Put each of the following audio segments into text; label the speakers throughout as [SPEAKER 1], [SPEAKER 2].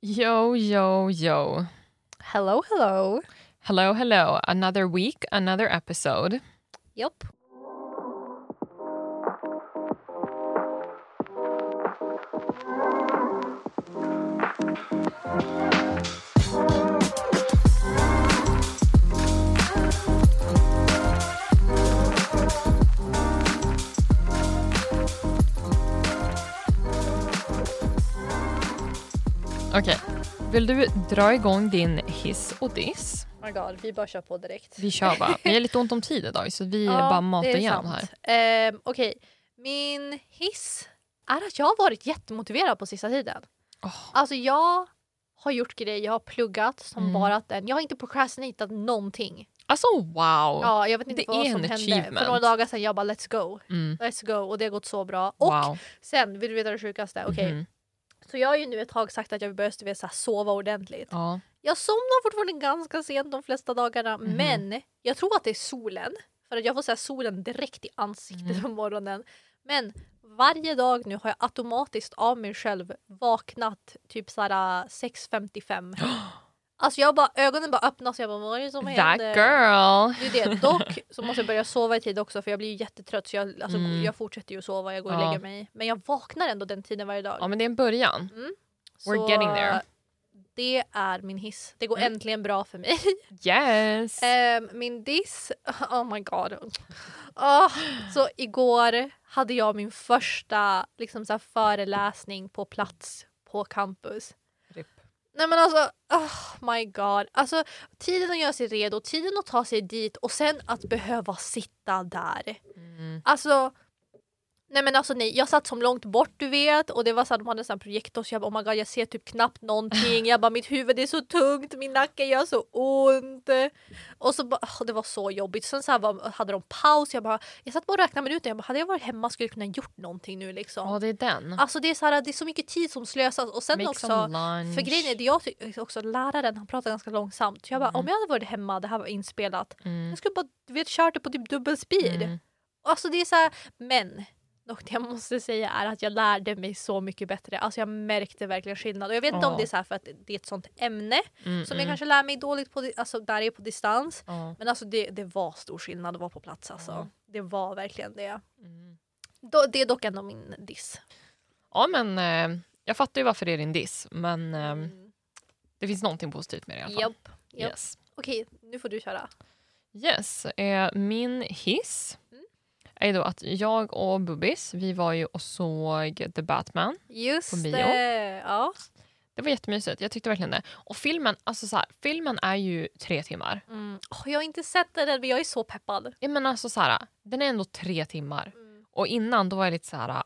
[SPEAKER 1] Yo, yo, yo.
[SPEAKER 2] Hello, hello.
[SPEAKER 1] Hello, hello. Another week, another episode.
[SPEAKER 2] Yep.
[SPEAKER 1] Okej, vill du dra igång din hiss och diss?
[SPEAKER 2] Oh my god, vi bara kör på direkt.
[SPEAKER 1] Vi kör bara. Vi har lite ont om tid idag så vi bara matar igenom här.
[SPEAKER 2] här. Um, Okej, min hiss är att jag har varit jättemotiverad på sista tiden.
[SPEAKER 1] Åh.
[SPEAKER 2] Alltså jag har gjort grejer, jag har pluggat som
[SPEAKER 1] Mm.
[SPEAKER 2] bara den. Jag har inte procrastinatat någonting.
[SPEAKER 1] Alltså wow!
[SPEAKER 2] Ja, jag vet inte
[SPEAKER 1] Det
[SPEAKER 2] vad
[SPEAKER 1] är
[SPEAKER 2] som
[SPEAKER 1] en
[SPEAKER 2] hände. För några
[SPEAKER 1] achievement.
[SPEAKER 2] dagar sedan jag bara let's go.
[SPEAKER 1] Mm.
[SPEAKER 2] Let's go och det har gått så bra. Och
[SPEAKER 1] wow.
[SPEAKER 2] sen, vill du veta det sjukaste? Okej,
[SPEAKER 1] Mhm.
[SPEAKER 2] så jag har ju nu ett tag sagt att jag vill börja du vet, så här, sova ordentligt.
[SPEAKER 1] Ja.
[SPEAKER 2] Jag somnar fortfarande ganska sent de flesta dagarna
[SPEAKER 1] Mhm.
[SPEAKER 2] men jag tror att det är solen. För att jag får så här solen direkt i ansiktet
[SPEAKER 1] Mhm.
[SPEAKER 2] på morgonen. Men varje dag nu har jag automatiskt av mig själv vaknat typ så här 6.55. alltså jag bara, ögonen bara öppnas och jag bara vad är det som
[SPEAKER 1] That
[SPEAKER 2] händer?
[SPEAKER 1] girl!
[SPEAKER 2] Det är det. Dock så måste jag börja sova i tid också för jag blir ju jättetrött så jag, alltså,
[SPEAKER 1] Mm.
[SPEAKER 2] jag fortsätter ju sova, jag går och
[SPEAKER 1] Ja.
[SPEAKER 2] lägger mig. Men jag vaknar ändå den tiden varje dag.
[SPEAKER 1] Ja men det är en början.
[SPEAKER 2] så äh,
[SPEAKER 1] We're getting there.
[SPEAKER 2] Det är min hiss. Det går
[SPEAKER 1] Mm.
[SPEAKER 2] äntligen bra för mig.
[SPEAKER 1] Yes!
[SPEAKER 2] Ehm, min diss, oh my god. Ah, så igår hade jag min första liksom, så här, föreläsning på plats på campus.
[SPEAKER 1] Ripp.
[SPEAKER 2] Nej men alltså, oh my god. Alltså tiden att göra sig redo, tiden att ta sig dit och sen att behöva sitta där.
[SPEAKER 1] Mm.
[SPEAKER 2] Alltså, nej men alltså nej, jag satt som långt bort du vet och det var så att de hade en sån här projektor så jag bara oh my god jag ser typ knappt någonting. Jag bara mitt huvud är så tungt, min nacke gör så ont. Och så bara, åh, det var så jobbigt. Sen så här var, hade de paus, jag bara jag satt bara och räknade minuter. Jag bara hade jag varit hemma skulle jag kunnat gjort någonting nu liksom.
[SPEAKER 1] Ja det är den.
[SPEAKER 2] Alltså det är så här, det är så mycket tid som slösas och sen
[SPEAKER 1] Make
[SPEAKER 2] också
[SPEAKER 1] some lunch.
[SPEAKER 2] för grejen är det jag tycker också, läraren han pratar ganska långsamt. Jag bara
[SPEAKER 1] Mm.
[SPEAKER 2] om jag hade varit hemma, det här var inspelat.
[SPEAKER 1] Mm.
[SPEAKER 2] Jag skulle bara du vet kört det på typ dubbel speed.
[SPEAKER 1] Mm.
[SPEAKER 2] Alltså det är så här, men och det jag måste säga är att jag lärde mig så mycket bättre. Alltså jag märkte verkligen skillnad. Och jag vet inte
[SPEAKER 1] Ja.
[SPEAKER 2] om det är så här för att det är ett sånt ämne
[SPEAKER 1] Mm.
[SPEAKER 2] som jag
[SPEAKER 1] mm.
[SPEAKER 2] kanske lär mig dåligt på, di- alltså där jag är på distans.
[SPEAKER 1] Ja.
[SPEAKER 2] Men alltså det, det var stor skillnad att vara på plats alltså.
[SPEAKER 1] Ja.
[SPEAKER 2] Det var verkligen det.
[SPEAKER 1] Mm.
[SPEAKER 2] Då, det är dock ändå min diss.
[SPEAKER 1] Ja men eh, jag fattar ju varför det är din diss men eh,
[SPEAKER 2] Mm.
[SPEAKER 1] det finns någonting positivt med det i alla fall.
[SPEAKER 2] Japp. japp.
[SPEAKER 1] Yes.
[SPEAKER 2] Okej, nu får du köra.
[SPEAKER 1] Yes, eh, min hiss
[SPEAKER 2] Mm.
[SPEAKER 1] är då att jag och Bubbis, vi var ju och såg The Batman. På
[SPEAKER 2] Just
[SPEAKER 1] bio.
[SPEAKER 2] det! Ja.
[SPEAKER 1] Det var jättemysigt, jag tyckte verkligen det. Och filmen, alltså så här, filmen är ju tre timmar.
[SPEAKER 2] Mm. Åh, jag har inte sett den men jag är så peppad.
[SPEAKER 1] Ja, men alltså så här, den är ändå tre timmar.
[SPEAKER 2] Mm.
[SPEAKER 1] Och innan då var jag lite så här,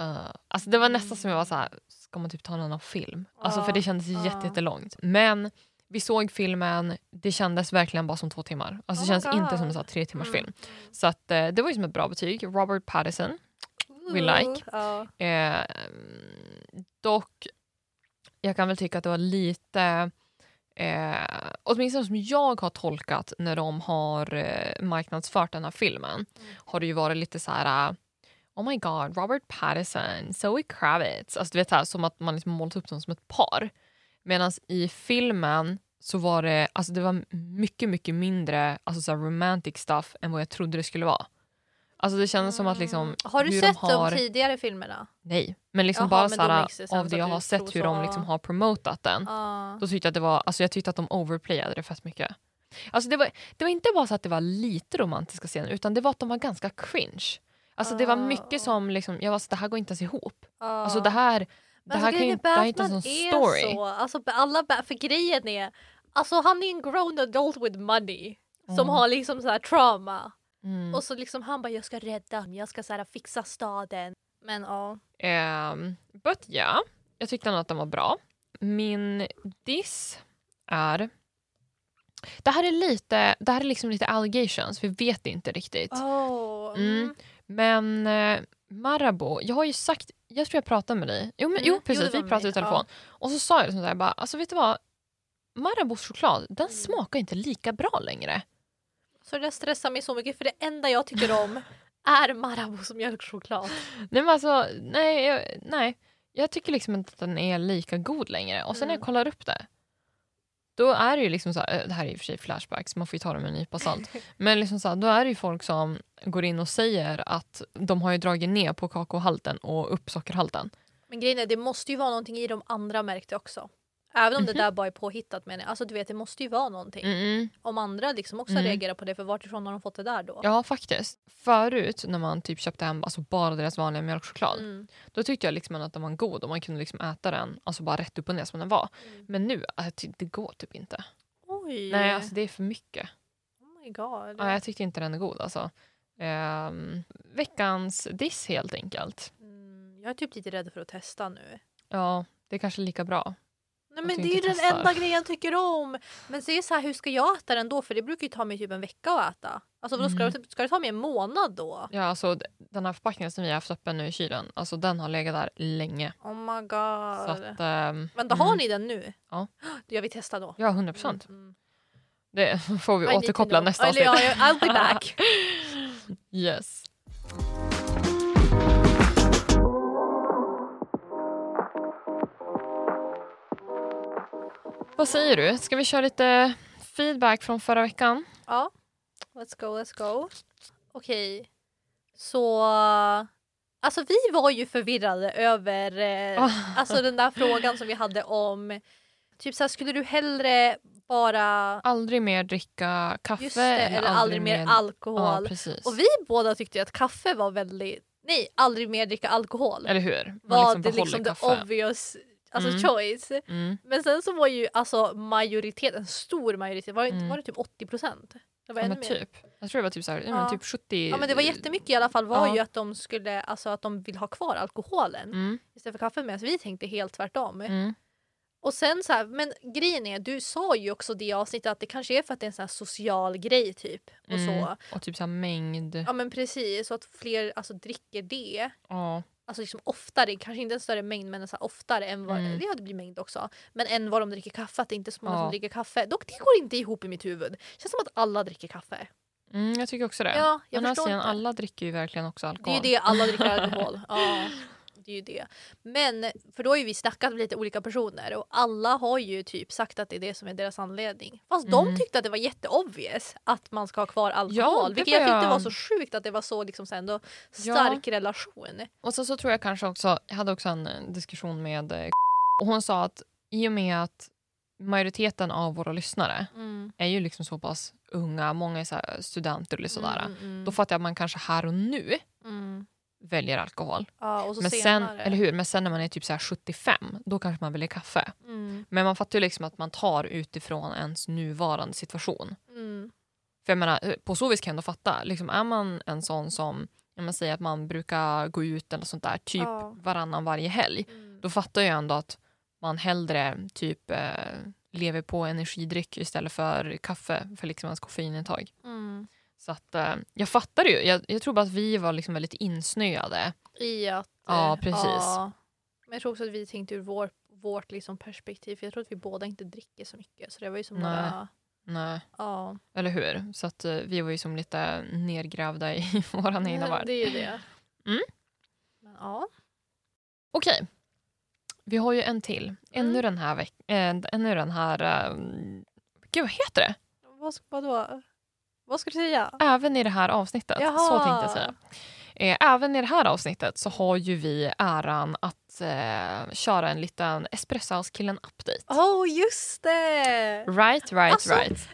[SPEAKER 1] eh, alltså det var nästan som jag var så här, ska man typ ta en annan film? Alltså
[SPEAKER 2] Ja,
[SPEAKER 1] för det kändes
[SPEAKER 2] ja.
[SPEAKER 1] jätte, jättelångt. Men vi såg filmen, det kändes verkligen bara som två timmar. Alltså det
[SPEAKER 2] Oh my
[SPEAKER 1] känns inte som en
[SPEAKER 2] God.
[SPEAKER 1] så här, tre timmars
[SPEAKER 2] Mm.
[SPEAKER 1] film. Så att, eh, det var ju som ett bra betyg. Robert Pattinson We like.
[SPEAKER 2] Mm. Ja.
[SPEAKER 1] Eh, dock, jag kan väl tycka att det var lite... Eh, åtminstone som jag har tolkat när de har eh, marknadsfört den här filmen har det ju varit lite så här... eh, Oh my god, Robert Pattinson, Zoe Kravitz. Alltså du vet här, som att man liksom målat upp dem som ett par. Medan i filmen så var det, alltså det var mycket, mycket mindre alltså så här romantic stuff än vad jag trodde det skulle vara. Alltså det kändes som att liksom...
[SPEAKER 2] Mm. Har du
[SPEAKER 1] hur
[SPEAKER 2] sett
[SPEAKER 1] de,
[SPEAKER 2] de
[SPEAKER 1] har,
[SPEAKER 2] tidigare filmerna?
[SPEAKER 1] Nej, men liksom
[SPEAKER 2] Jaha,
[SPEAKER 1] bara
[SPEAKER 2] men
[SPEAKER 1] så
[SPEAKER 2] då
[SPEAKER 1] här,
[SPEAKER 2] makes it sense
[SPEAKER 1] av det
[SPEAKER 2] att
[SPEAKER 1] jag
[SPEAKER 2] du
[SPEAKER 1] har
[SPEAKER 2] tror
[SPEAKER 1] sett hur
[SPEAKER 2] så,
[SPEAKER 1] de
[SPEAKER 2] ja.
[SPEAKER 1] liksom har promotat den.
[SPEAKER 2] Ja.
[SPEAKER 1] Då tyckte jag att det var, alltså jag tyckte att de overplayade det fett mycket. Alltså det var, det var inte bara så att det var lite romantiska scener utan det var att de var ganska cringe. Alltså det var
[SPEAKER 2] Ah.
[SPEAKER 1] mycket som liksom, jag var så det här går inte ens ihop.
[SPEAKER 2] Ja.
[SPEAKER 1] Alltså det här, det
[SPEAKER 2] Men
[SPEAKER 1] här,
[SPEAKER 2] alltså,
[SPEAKER 1] kan ju,
[SPEAKER 2] grejen
[SPEAKER 1] inte- det
[SPEAKER 2] är
[SPEAKER 1] här är inte ens en
[SPEAKER 2] Batman är
[SPEAKER 1] story.
[SPEAKER 2] Så. Alltså, ba- alla, ba- för grejen är, alltså han är en grown adult with money. Som
[SPEAKER 1] Mm.
[SPEAKER 2] har liksom så här trauma.
[SPEAKER 1] Mm.
[SPEAKER 2] Och så liksom han bara jag ska rädda, jag ska så här fixa staden. Men ja.
[SPEAKER 1] Ehm, but yeah, jag tyckte ändå att den var bra. Min diss är... Det här är lite, det här är liksom lite allegations, vi vet inte riktigt.
[SPEAKER 2] Oh.
[SPEAKER 1] Mm. Men eh, Marabou, jag har ju sagt, jag tror jag pratade med dig. Jo, men,
[SPEAKER 2] Mm.
[SPEAKER 1] jo
[SPEAKER 2] Jo,
[SPEAKER 1] precis,
[SPEAKER 2] det var
[SPEAKER 1] vi
[SPEAKER 2] med
[SPEAKER 1] pratade
[SPEAKER 2] mig,
[SPEAKER 1] i telefon. Och så sa jag det sånt där, bara, alltså vet du vad? Marabous choklad, den
[SPEAKER 2] Mm.
[SPEAKER 1] smakar inte lika bra längre.
[SPEAKER 2] Så det där stressar mig så mycket för det enda jag tycker om är Marabous mjölkchoklad.
[SPEAKER 1] Nej men alltså, nej, jag, nej. Jag tycker liksom inte att den är lika god längre. Och sen när jag
[SPEAKER 2] Mm.
[SPEAKER 1] kollar upp det, då är det ju liksom så här, eh, det här är i och för sig flashbacks, man får ju ta dem med en nypa salt. Men liksom så här, då är det ju folk som går in och säger att de har ju dragit ner på kakaohalten och upp sockerhalten.
[SPEAKER 2] Men grejen är, det måste ju vara någonting i de andra märkte också. Även om det där bara är påhittat menar jag. Alltså du vet det måste ju vara någonting.
[SPEAKER 1] Mhm. Mm.
[SPEAKER 2] Om andra liksom också
[SPEAKER 1] Mm.
[SPEAKER 2] reagerar på det för vartifrån har de fått det där då?
[SPEAKER 1] Ja faktiskt. Förut när man typ köpte hem alltså bara deras vanliga mjölkchoklad
[SPEAKER 2] Mm.
[SPEAKER 1] då tyckte jag liksom att den var god och man kunde liksom äta den alltså bara rätt upp och ner som den var.
[SPEAKER 2] Mm.
[SPEAKER 1] Men nu, äh, ty- det går typ inte.
[SPEAKER 2] Oj!
[SPEAKER 1] Nej alltså det är för mycket.
[SPEAKER 2] Oh my god.
[SPEAKER 1] Ja, jag tyckte inte den är god alltså. Ehm, veckans diss helt enkelt.
[SPEAKER 2] Mm, jag är typ lite rädd för att testa nu.
[SPEAKER 1] Ja, det är kanske lika bra.
[SPEAKER 2] Nej
[SPEAKER 1] Att
[SPEAKER 2] men
[SPEAKER 1] du
[SPEAKER 2] det är ju
[SPEAKER 1] inte
[SPEAKER 2] den
[SPEAKER 1] testar.
[SPEAKER 2] enda grejen jag tycker om. Men så är det så här, hur ska jag äta den då? För det brukar ju ta mig typ en vecka att äta. Alltså vadå, ska,
[SPEAKER 1] Mm.
[SPEAKER 2] det, ska det ta mig en månad då?
[SPEAKER 1] Ja, alltså, d- den här förpackningen som vi har haft öppen nu i kylen, alltså, den har legat där länge.
[SPEAKER 2] Oh my
[SPEAKER 1] Så
[SPEAKER 2] god.
[SPEAKER 1] att, ehm,
[SPEAKER 2] men då har
[SPEAKER 1] mm.
[SPEAKER 2] ni den nu?
[SPEAKER 1] Ja.
[SPEAKER 2] Då gör vi testa då.
[SPEAKER 1] Ja, 100 procent.
[SPEAKER 2] Mm, mm.
[SPEAKER 1] Det får vi
[SPEAKER 2] I need to
[SPEAKER 1] återkoppla
[SPEAKER 2] know.
[SPEAKER 1] nästa
[SPEAKER 2] Eller
[SPEAKER 1] avsnitt.
[SPEAKER 2] ja, jag- I'll be back.
[SPEAKER 1] Yes. Vad säger du? Ska vi köra lite feedback från förra veckan?
[SPEAKER 2] Ja, let's go, let's go. Okej, så... Alltså vi var ju förvirrade över eh,
[SPEAKER 1] Ah,
[SPEAKER 2] alltså, den där frågan som vi hade om typ så här, skulle du hellre bara
[SPEAKER 1] Aldrig mer dricka kaffe
[SPEAKER 2] just det, eller aldrig, mer
[SPEAKER 1] Ja,
[SPEAKER 2] alkohol?
[SPEAKER 1] precis.
[SPEAKER 2] och vi båda tyckte ju att kaffe var väldigt, nej aldrig mer dricka alkohol
[SPEAKER 1] Eller hur? Man
[SPEAKER 2] var det
[SPEAKER 1] behåller
[SPEAKER 2] liksom the
[SPEAKER 1] kaffen.
[SPEAKER 2] obvious alltså,
[SPEAKER 1] Mm.
[SPEAKER 2] choice.
[SPEAKER 1] Mm.
[SPEAKER 2] Men sen så var ju alltså majoriteten, en stor majoritet, var, det inte-
[SPEAKER 1] Mm.
[SPEAKER 2] var det typ 80 procent? Det var
[SPEAKER 1] Ja,
[SPEAKER 2] ännu
[SPEAKER 1] men
[SPEAKER 2] mer.
[SPEAKER 1] typ. Jag tror det var typ, så här, ja.
[SPEAKER 2] Ja.
[SPEAKER 1] men typ 70...
[SPEAKER 2] Ja men det var jättemycket i alla fall var
[SPEAKER 1] Ja.
[SPEAKER 2] ju att de skulle, alltså att de vill ha kvar alkoholen
[SPEAKER 1] Mm,
[SPEAKER 2] istället för kaffe medan vi tänkte helt tvärtom.
[SPEAKER 1] mm,
[SPEAKER 2] Och sen så här, men grejen är, du sa ju också det i avsnittet att det kanske är för att det är en sån här social grej typ och
[SPEAKER 1] mm.
[SPEAKER 2] så.
[SPEAKER 1] Och typ så här mängd.
[SPEAKER 2] Ja men precis, så att fler alltså dricker det.
[SPEAKER 1] Ja.
[SPEAKER 2] Alltså liksom oftare, kanske inte en större mängd men så här oftare än vad,
[SPEAKER 1] Mm.
[SPEAKER 2] det hade blivit mängd också. Men än vad de dricker kaffe, att det är inte är så många
[SPEAKER 1] Ja.
[SPEAKER 2] som dricker kaffe. Dock det går inte ihop i mitt huvud. känns som att alla dricker kaffe.
[SPEAKER 1] Mm, jag tycker också det.
[SPEAKER 2] Ja,
[SPEAKER 1] Å
[SPEAKER 2] jag
[SPEAKER 1] andra
[SPEAKER 2] förstår
[SPEAKER 1] sidan,
[SPEAKER 2] inte.
[SPEAKER 1] alla dricker ju verkligen också
[SPEAKER 2] Det är
[SPEAKER 1] alkohol.
[SPEAKER 2] ju det alla dricker alkohol. Ja, det är ju det. Men för då har ju vi snackat med lite olika personer och alla har ju typ sagt att det är det som är deras anledning. Fast
[SPEAKER 1] Mm.
[SPEAKER 2] de tyckte att det var jätteobvious att man ska ha kvar
[SPEAKER 1] Ja,
[SPEAKER 2] alkohol.
[SPEAKER 1] det
[SPEAKER 2] vilket
[SPEAKER 1] var
[SPEAKER 2] jag tyckte
[SPEAKER 1] jag-
[SPEAKER 2] var så sjukt att det var så liksom så här ändå
[SPEAKER 1] Ja.
[SPEAKER 2] stark relation.
[SPEAKER 1] Och sen så tror jag kanske också, jag hade också en eh, diskussion med eh, och hon sa att i och med att majoriteten av våra lyssnare
[SPEAKER 2] Mm.
[SPEAKER 1] är ju liksom så pass unga, många är så här studenter eller sådär.
[SPEAKER 2] Mm, mm,
[SPEAKER 1] Då fattar jag att man kanske här och nu
[SPEAKER 2] mm.
[SPEAKER 1] väljer alkohol.
[SPEAKER 2] Ja, och så
[SPEAKER 1] Men sen,
[SPEAKER 2] senare.
[SPEAKER 1] eller hur? Men sen när man är typ så här 75, då kanske man väljer kaffe.
[SPEAKER 2] Mm,
[SPEAKER 1] Men man fattar ju liksom att man tar utifrån ens nuvarande situation.
[SPEAKER 2] mm,
[SPEAKER 1] För jag menar, eh, på så vis kan jag ändå fatta. Liksom, är man en sån som när man säger att man brukar gå ut eller sånt där, typ
[SPEAKER 2] Ja.
[SPEAKER 1] varannan varje helg,
[SPEAKER 2] mm.
[SPEAKER 1] då fattar jag ändå att man hellre typ eh, lever på energidryck istället för kaffe för liksom ens koffeinintag.
[SPEAKER 2] Mm.
[SPEAKER 1] Så att, eh, jag fattar det ju. Jag, jag tror bara att vi var liksom väldigt insnöade.
[SPEAKER 2] I att...
[SPEAKER 1] Ja,
[SPEAKER 2] eh,
[SPEAKER 1] precis.
[SPEAKER 2] Men jag tror också att vi tänkte ur vår, vårt liksom perspektiv. För jag tror att vi båda inte dricker så mycket. Så det var ju som
[SPEAKER 1] Nej.
[SPEAKER 2] några...
[SPEAKER 1] Nej.
[SPEAKER 2] Ja.
[SPEAKER 1] Eller hur? Så att eh, vi var ju som lite nergrävda i våran egna värld.
[SPEAKER 2] Det är ju det.
[SPEAKER 1] Mm.
[SPEAKER 2] Men, ja.
[SPEAKER 1] Okej. Vi har ju en till. Ännu
[SPEAKER 2] Mm.
[SPEAKER 1] den här veck- eh, Ännu den här... eh, gud, vad heter det?
[SPEAKER 2] Vad ska, vadå? Vad ska du säga?
[SPEAKER 1] Även i det här avsnittet.
[SPEAKER 2] Jaha.
[SPEAKER 1] Så tänkte jag säga. Eh, även i det här avsnittet så har ju vi äran att eh, köra en liten Espresso House-killen-update.
[SPEAKER 2] Åh, oh, just det!
[SPEAKER 1] Right, right,
[SPEAKER 2] Alltså,
[SPEAKER 1] right.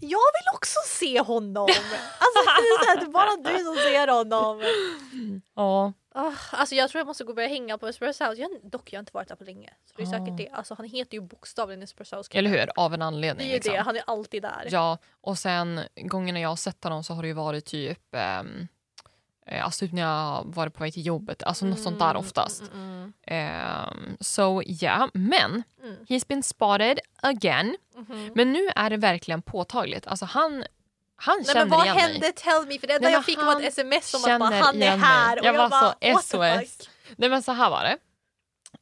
[SPEAKER 2] Jag vill också se honom! Alltså, det är så här, det är bara du som ser honom.
[SPEAKER 1] Ja,
[SPEAKER 2] Ah, alltså, jag tror jag måste gå och börja hänga på Espresso House. Jag, dock, jag har inte varit där på länge. Så det är
[SPEAKER 1] Ah.
[SPEAKER 2] säkert det. Alltså, han heter ju bokstavligen Espresso House.
[SPEAKER 1] eller hur? Av en
[SPEAKER 2] Det
[SPEAKER 1] anledning.
[SPEAKER 2] är ju det,
[SPEAKER 1] liksom.
[SPEAKER 2] han är alltid där.
[SPEAKER 1] Ja, och sen gångerna jag har sett honom så har det ju varit typ ehm, eh, Alltså typ när jag har varit på väg till jobbet, alltså något sånt där
[SPEAKER 2] Mm,
[SPEAKER 1] oftast.
[SPEAKER 2] Mm,
[SPEAKER 1] Ehm, so yeah, men
[SPEAKER 2] mm, mm.
[SPEAKER 1] he's been spotted again.
[SPEAKER 2] Mm, mhm.
[SPEAKER 1] Men nu är det verkligen påtagligt. Alltså han, han
[SPEAKER 2] Nej
[SPEAKER 1] känner
[SPEAKER 2] men vad
[SPEAKER 1] igen
[SPEAKER 2] hände?
[SPEAKER 1] mig.
[SPEAKER 2] Tell me! För det enda
[SPEAKER 1] Nej, men
[SPEAKER 2] jag fick var
[SPEAKER 1] han
[SPEAKER 2] ett sms om att bara,
[SPEAKER 1] känner
[SPEAKER 2] han är
[SPEAKER 1] igen mig.
[SPEAKER 2] här.
[SPEAKER 1] Jag var så
[SPEAKER 2] what the
[SPEAKER 1] SOS.
[SPEAKER 2] fuck?
[SPEAKER 1] Nej men så här var det.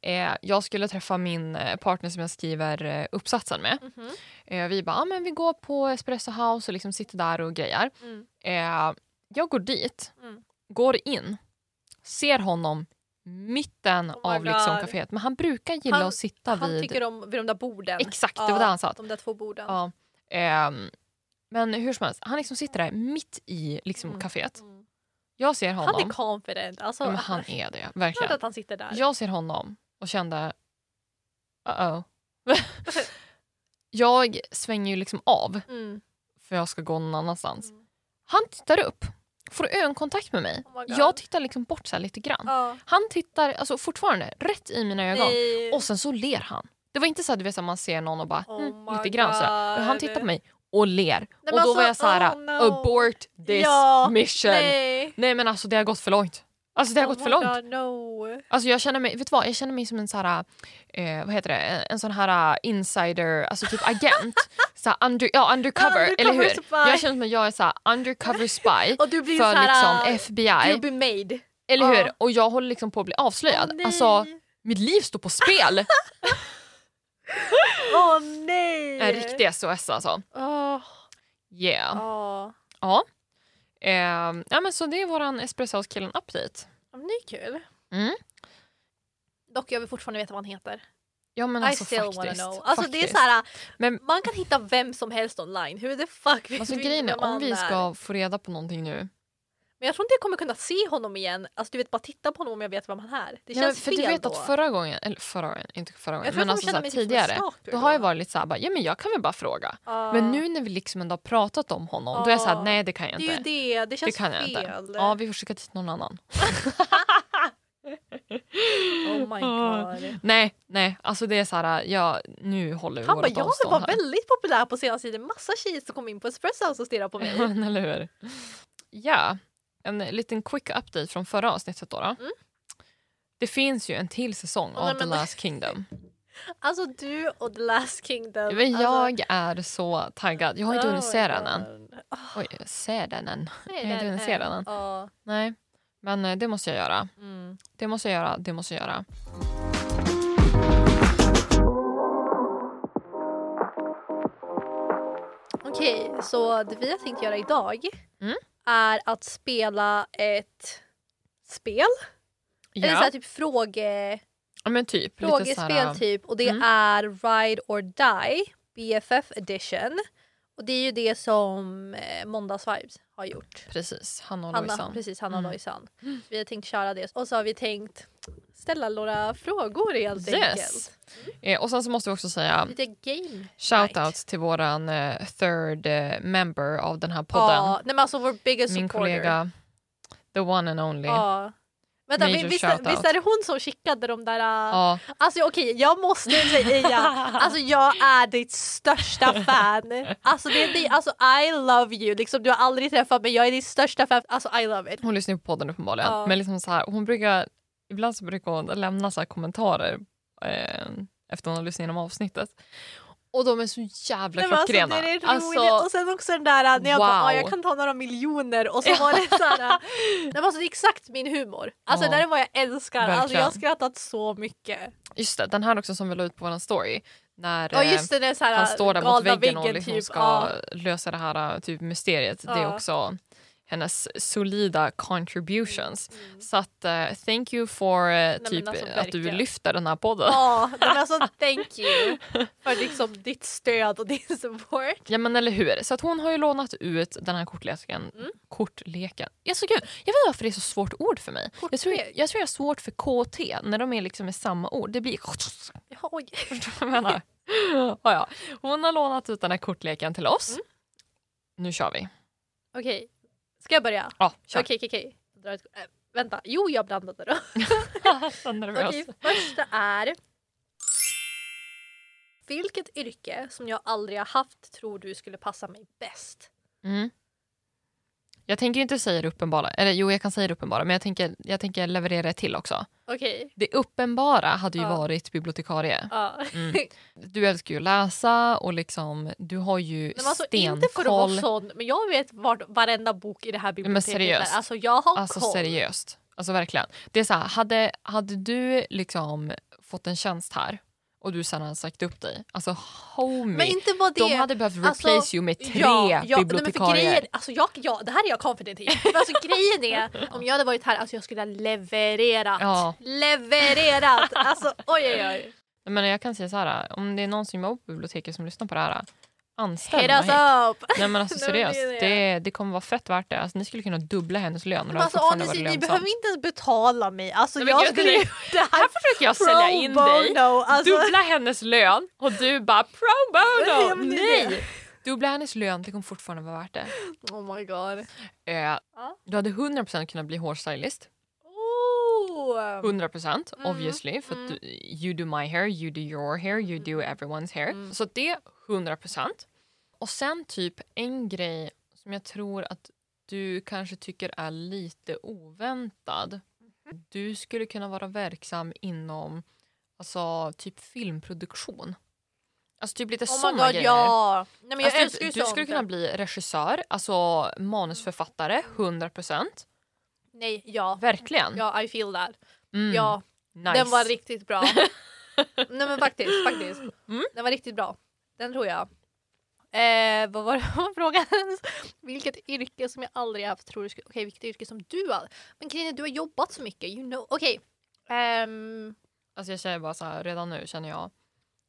[SPEAKER 1] Eh, jag skulle träffa min eh, partner som jag skriver eh, uppsatsen med.
[SPEAKER 2] Mhm,
[SPEAKER 1] Eh, vi bara, ah, men vi går på Espresso House och liksom sitter där och grejar.
[SPEAKER 2] mm.
[SPEAKER 1] Eh, jag går dit,
[SPEAKER 2] Mm.
[SPEAKER 1] går in, ser honom mitten
[SPEAKER 2] Oh my
[SPEAKER 1] av liksom
[SPEAKER 2] God.
[SPEAKER 1] kaféet. Men han brukar gilla
[SPEAKER 2] Han-
[SPEAKER 1] att sitta
[SPEAKER 2] Han
[SPEAKER 1] vid...
[SPEAKER 2] tycker om vid de där borden.
[SPEAKER 1] Exakt, det
[SPEAKER 2] Ja,
[SPEAKER 1] var där han satt.
[SPEAKER 2] De där två borden.
[SPEAKER 1] Ja. Ehm, men hur som helst, han liksom sitter där mitt i liksom,
[SPEAKER 2] Mm.
[SPEAKER 1] kaféet.
[SPEAKER 2] Mm.
[SPEAKER 1] Jag ser honom.
[SPEAKER 2] Han är confident. Alltså,
[SPEAKER 1] ja, men han är det, verkligen.
[SPEAKER 2] klart att han sitter där.
[SPEAKER 1] Jag ser honom och kände uh-oh.
[SPEAKER 2] Alltså,
[SPEAKER 1] jag svänger ju liksom av
[SPEAKER 2] Mm.
[SPEAKER 1] för jag ska gå någon annanstans.
[SPEAKER 2] Mm.
[SPEAKER 1] Han tittar upp, får ögonkontakt med mig.
[SPEAKER 2] Oh my God.
[SPEAKER 1] jag tittar liksom bort så här lite grann.
[SPEAKER 2] Ja.
[SPEAKER 1] Han tittar alltså, fortfarande rätt i mina ögon
[SPEAKER 2] Nej.
[SPEAKER 1] och sen så ler han. Det var inte så att du vet, så här, man ser någon och bara
[SPEAKER 2] Oh
[SPEAKER 1] mm,
[SPEAKER 2] my
[SPEAKER 1] lite grann så här. Men Han
[SPEAKER 2] God.
[SPEAKER 1] tittar på mig och ler. och
[SPEAKER 2] men
[SPEAKER 1] då
[SPEAKER 2] alltså,
[SPEAKER 1] var jag så här
[SPEAKER 2] oh no.
[SPEAKER 1] abort this
[SPEAKER 2] Ja,
[SPEAKER 1] mission. Nej.
[SPEAKER 2] Nej. Oh
[SPEAKER 1] men alltså det har gått för långt. Alltså det har gått för långt.
[SPEAKER 2] God, no.
[SPEAKER 1] Alltså jag känner mig, vet du vad? Jag känner mig som en sån här, eh, vad heter det, en, en sån här eh, insider, alltså typ agent. så här under, ja, undercover,
[SPEAKER 2] Ja,
[SPEAKER 1] eller hur?
[SPEAKER 2] undercover spy.
[SPEAKER 1] Jag känner mig, jag är så här undercover spy
[SPEAKER 2] Och du blir
[SPEAKER 1] för
[SPEAKER 2] så här, eh,
[SPEAKER 1] liksom
[SPEAKER 2] You'll
[SPEAKER 1] FBI,
[SPEAKER 2] be made.
[SPEAKER 1] eller hur?
[SPEAKER 2] ja.
[SPEAKER 1] Och jag håller liksom på att bli avslöjad.
[SPEAKER 2] Åh, nej.
[SPEAKER 1] alltså mitt liv står på spel.
[SPEAKER 2] Åh nej!
[SPEAKER 1] en Eh, riktig SOS alltså.
[SPEAKER 2] Åh,
[SPEAKER 1] Yeah.
[SPEAKER 2] åh.
[SPEAKER 1] Ja. Eh, ja men så det är våran Espresso House killen update.
[SPEAKER 2] Ja, men det är kul.
[SPEAKER 1] Mm.
[SPEAKER 2] Dock jag vill fortfarande veta vad han heter.
[SPEAKER 1] Ja men
[SPEAKER 2] I
[SPEAKER 1] alltså
[SPEAKER 2] still
[SPEAKER 1] faktiskt.
[SPEAKER 2] wanna know. Alltså det är
[SPEAKER 1] faktiskt.
[SPEAKER 2] så här,
[SPEAKER 1] Men-
[SPEAKER 2] man kan hitta vem som helst online. Hur the fuck vet
[SPEAKER 1] Alltså
[SPEAKER 2] vi
[SPEAKER 1] grejen
[SPEAKER 2] vem
[SPEAKER 1] är om
[SPEAKER 2] han
[SPEAKER 1] vi
[SPEAKER 2] är?
[SPEAKER 1] ska få reda på någonting nu.
[SPEAKER 2] Men jag tror inte jag kommer kunna se honom igen. Alltså du vet bara titta på honom om jag vet vem han är. Det
[SPEAKER 1] Ja,
[SPEAKER 2] känns
[SPEAKER 1] för
[SPEAKER 2] fel
[SPEAKER 1] du vet
[SPEAKER 2] då.
[SPEAKER 1] att förra gången, eller förra gången, inte förra
[SPEAKER 2] jag
[SPEAKER 1] gången,
[SPEAKER 2] tror
[SPEAKER 1] men
[SPEAKER 2] jag kommer
[SPEAKER 1] alltså så
[SPEAKER 2] känna
[SPEAKER 1] här,
[SPEAKER 2] mig typ tidigare,
[SPEAKER 1] tidigare.
[SPEAKER 2] som en stalker
[SPEAKER 1] Då har jag varit lite såhär, bara, ja men jag kan väl bara fråga.
[SPEAKER 2] Ja.
[SPEAKER 1] Men nu när vi liksom ändå har pratat om honom, då är jag såhär,
[SPEAKER 2] Ja.
[SPEAKER 1] nej det kan jag
[SPEAKER 2] Det är ju
[SPEAKER 1] inte.
[SPEAKER 2] det, det
[SPEAKER 1] Det
[SPEAKER 2] känns
[SPEAKER 1] kan jag
[SPEAKER 2] fel.
[SPEAKER 1] inte. Ja, vi får skicka dit någon annan.
[SPEAKER 2] Oh my god.
[SPEAKER 1] Nej, nej, alltså det är såhär, ja, nu håller vi
[SPEAKER 2] Han bara,
[SPEAKER 1] vårat
[SPEAKER 2] jag
[SPEAKER 1] avstånd
[SPEAKER 2] var
[SPEAKER 1] här.
[SPEAKER 2] väldigt populär på senaste tiden. Massa tjejer som kom in på Espresso House och stirrade på mig.
[SPEAKER 1] Eller hur? Ja, en liten quick update från förra avsnittet då. då. Det finns ju en till säsong
[SPEAKER 2] Mm. Ja,
[SPEAKER 1] av
[SPEAKER 2] men-
[SPEAKER 1] The Last Kingdom.
[SPEAKER 2] Alltså du och The Last Kingdom.
[SPEAKER 1] Men
[SPEAKER 2] alltså,
[SPEAKER 1] jag är så taggad. Jag har inte
[SPEAKER 2] oh
[SPEAKER 1] hunnit
[SPEAKER 2] my
[SPEAKER 1] se den än.
[SPEAKER 2] god. Ah,
[SPEAKER 1] Oj, se den än.
[SPEAKER 2] nej,
[SPEAKER 1] Jag har inte
[SPEAKER 2] den
[SPEAKER 1] hunnit
[SPEAKER 2] är-
[SPEAKER 1] se den än.
[SPEAKER 2] ja,
[SPEAKER 1] Nej, men eh, det måste jag göra.
[SPEAKER 2] mm.
[SPEAKER 1] Det måste jag göra, det måste jag göra.
[SPEAKER 2] Okej, så det vi har tänkt göra idag
[SPEAKER 1] Mm.
[SPEAKER 2] är att spela ett spel.
[SPEAKER 1] Ja,
[SPEAKER 2] Eller så här, typ fråge,
[SPEAKER 1] ja, men typ. lite så här,
[SPEAKER 2] frågespel typ. Och det
[SPEAKER 1] Mm.
[SPEAKER 2] är Ride or Die, BFF edition. Och det är ju det som eh, Måndagsvibes har gjort.
[SPEAKER 1] Precis, Hanna och
[SPEAKER 2] Hanna,
[SPEAKER 1] Lojsan.
[SPEAKER 2] precis, Hanna
[SPEAKER 1] Mm.
[SPEAKER 2] Lojsan. Så Vi har tänkt köra det och så har vi tänkt ställa några frågor helt
[SPEAKER 1] Yes.
[SPEAKER 2] enkelt.
[SPEAKER 1] Eh, och sen så måste vi också säga
[SPEAKER 2] Lite game.
[SPEAKER 1] shoutouts till våran eh, third eh, member av den här podden.
[SPEAKER 2] Ja, nej men alltså vår biggest
[SPEAKER 1] Min
[SPEAKER 2] supporter.
[SPEAKER 1] kollega, the one and only. Ja.
[SPEAKER 2] Ja. Vänta,
[SPEAKER 1] Major
[SPEAKER 2] vi- visst,
[SPEAKER 1] shoutout.
[SPEAKER 2] visst är det hon som skickade de där... äh, Alltså okej, jag måste säga, alltså jag är ditt största fan. Alltså, det, det, alltså I love you, liksom, du har aldrig träffat mig, jag är ditt största fan. Alltså I love it.
[SPEAKER 1] Hon lyssnar ju på podden uppenbarligen.
[SPEAKER 2] Ja.
[SPEAKER 1] Men liksom så här, hon brukar, ibland så brukar hon lämna så här kommentarer eh, efter hon har lyssnat igenom avsnittet. Och de är så jävla
[SPEAKER 2] Nej, men alltså, det
[SPEAKER 1] klockrena.
[SPEAKER 2] är roligt.
[SPEAKER 1] Alltså,
[SPEAKER 2] och sen också den där äh, när jag bara,
[SPEAKER 1] Wow.
[SPEAKER 2] ah, jag kan ta några miljoner och så var det såhär. äh, Nej, men alltså, det är exakt min humor. Alltså
[SPEAKER 1] Ja.
[SPEAKER 2] det där är vad jag älskar. Alltså,
[SPEAKER 1] Verkligen.
[SPEAKER 2] jag har skrattat så mycket.
[SPEAKER 1] just det, den här också som vi la ut på vår story. När
[SPEAKER 2] Ja
[SPEAKER 1] eh,
[SPEAKER 2] just det, det är såhär
[SPEAKER 1] han står där mot
[SPEAKER 2] galna typ.
[SPEAKER 1] väggen, och liksom ska
[SPEAKER 2] ja.
[SPEAKER 1] lösa det här eh, typ, mysteriet. Det är
[SPEAKER 2] Ja.
[SPEAKER 1] också hennes solida contributions. Så att, eh, thank you for eh,
[SPEAKER 2] men
[SPEAKER 1] typ,
[SPEAKER 2] alltså,
[SPEAKER 1] eh, att du
[SPEAKER 2] verkligen.
[SPEAKER 1] lyfter den här podden.
[SPEAKER 2] Ja, nej, men alltså thank you för liksom ditt stöd och din support.
[SPEAKER 1] Ja men eller hur. Så att hon har ju lånat ut den här kortleken. Kortleken. Jag, så gud, jag vet inte varför det är så svårt ord för mig. Jag tror jag,
[SPEAKER 2] Kortlek.
[SPEAKER 1] jag tror jag har svårt för KT när de är liksom i samma ord. Det blir...
[SPEAKER 2] Ja, oj.
[SPEAKER 1] Förstår du vad jag menar? ja, ja. Hon har lånat ut den här kortleken till oss. Nu kör vi.
[SPEAKER 2] Okej, ska jag börja?
[SPEAKER 1] Ja, kör.
[SPEAKER 2] Okej, okej, okej. Jag drar ett- äh, Vänta, jo jag blandade då.
[SPEAKER 1] Så nervös.
[SPEAKER 2] Okej, första är. Vilket yrke som jag aldrig har haft tror du skulle passa mig bäst?
[SPEAKER 1] Mm. Jag tänker inte säga det uppenbara. Eller jo, jag kan säga det uppenbara. Men jag tänker, jag tänker leverera ett till också.
[SPEAKER 2] Okej,
[SPEAKER 1] Det uppenbara hade ju
[SPEAKER 2] Ja.
[SPEAKER 1] varit bibliotekarie.
[SPEAKER 2] ja.
[SPEAKER 1] Du älskar ju att läsa och liksom, du har ju
[SPEAKER 2] Men alltså,
[SPEAKER 1] stenkoll.
[SPEAKER 2] inte för att vara sån, men jag vet vart varenda bok i det här biblioteket
[SPEAKER 1] seriöst.
[SPEAKER 2] är. Alltså jag har
[SPEAKER 1] alltså
[SPEAKER 2] koll.
[SPEAKER 1] seriöst. Alltså verkligen. Det är så här, hade, hade du liksom fått en tjänst här och du sen hade sagt upp dig. Alltså homie,
[SPEAKER 2] Men inte bara det.
[SPEAKER 1] de hade behövt replace
[SPEAKER 2] alltså,
[SPEAKER 1] you med tre
[SPEAKER 2] nej, men för
[SPEAKER 1] bibliotekarier.
[SPEAKER 2] grejen, alltså jag, ja, det här är jag confident i. Men alltså, grejen är, om jag hade varit här, alltså jag skulle ha levererat.
[SPEAKER 1] Ja.
[SPEAKER 2] Levererat! Alltså oj oj oj.
[SPEAKER 1] Men jag kan säga så här, om det är någon som jobbar på biblioteket som lyssnar på det här, anställ
[SPEAKER 2] Hit
[SPEAKER 1] mig.
[SPEAKER 2] us up!
[SPEAKER 1] Nej men alltså
[SPEAKER 2] Nej, men det är
[SPEAKER 1] seriöst, det, det. kommer vara fett värt det. Alltså, ni skulle kunna dubbla hennes lön och
[SPEAKER 2] Men
[SPEAKER 1] det alltså,
[SPEAKER 2] alltså
[SPEAKER 1] fortfarande
[SPEAKER 2] honestly,
[SPEAKER 1] varit
[SPEAKER 2] ni
[SPEAKER 1] lönsamt.
[SPEAKER 2] behöver inte ens betala mig. Alltså
[SPEAKER 1] Nej, men
[SPEAKER 2] jag
[SPEAKER 1] gud,
[SPEAKER 2] skulle
[SPEAKER 1] nej.
[SPEAKER 2] ju... Det här
[SPEAKER 1] Här försöker jag
[SPEAKER 2] pro
[SPEAKER 1] sälja in dig.
[SPEAKER 2] bono, alltså.
[SPEAKER 1] Dubbla hennes lön och du bara pro
[SPEAKER 2] Ja,
[SPEAKER 1] bono!
[SPEAKER 2] men det är det.
[SPEAKER 1] Nej! Dubbla hennes lön, det kommer fortfarande vara värt det.
[SPEAKER 2] Oh my god.
[SPEAKER 1] Eh,
[SPEAKER 2] Ja.
[SPEAKER 1] Du hade 100% kunnat bli hårstylist.
[SPEAKER 2] Oh.
[SPEAKER 1] 100%
[SPEAKER 2] Mm, Mm.
[SPEAKER 1] obviously. För att du, you do my hair, you do your hair, you do everyone's hair. Så det 100%. Och sen typ en grej som jag tror att du kanske tycker är lite oväntad.
[SPEAKER 2] Mhm.
[SPEAKER 1] Du skulle kunna vara verksam inom alltså, typ filmproduktion. Alltså typ lite
[SPEAKER 2] Oh my
[SPEAKER 1] såna
[SPEAKER 2] god
[SPEAKER 1] grejer.
[SPEAKER 2] ja. Nej, men jag
[SPEAKER 1] Alltså,
[SPEAKER 2] älskar
[SPEAKER 1] typ, du
[SPEAKER 2] ju sånt. Mm.
[SPEAKER 1] skulle kunna bli regissör, alltså manusförfattare 100%.
[SPEAKER 2] Nej ja.
[SPEAKER 1] Verkligen.
[SPEAKER 2] Ja I feel that.
[SPEAKER 1] Mm,
[SPEAKER 2] Ja
[SPEAKER 1] nice.
[SPEAKER 2] den var riktigt bra. Nej men faktiskt. faktiskt.
[SPEAKER 1] Mm.
[SPEAKER 2] Den var riktigt bra. Den tror jag. Eh, vad var det frågan? Vilket yrke som jag aldrig haft tror du skulle... Okej vilket yrke som du har... Men grejen är du har jobbat så mycket. You know. Okej. ehm,
[SPEAKER 1] Alltså jag säger bara så här, redan nu känner jag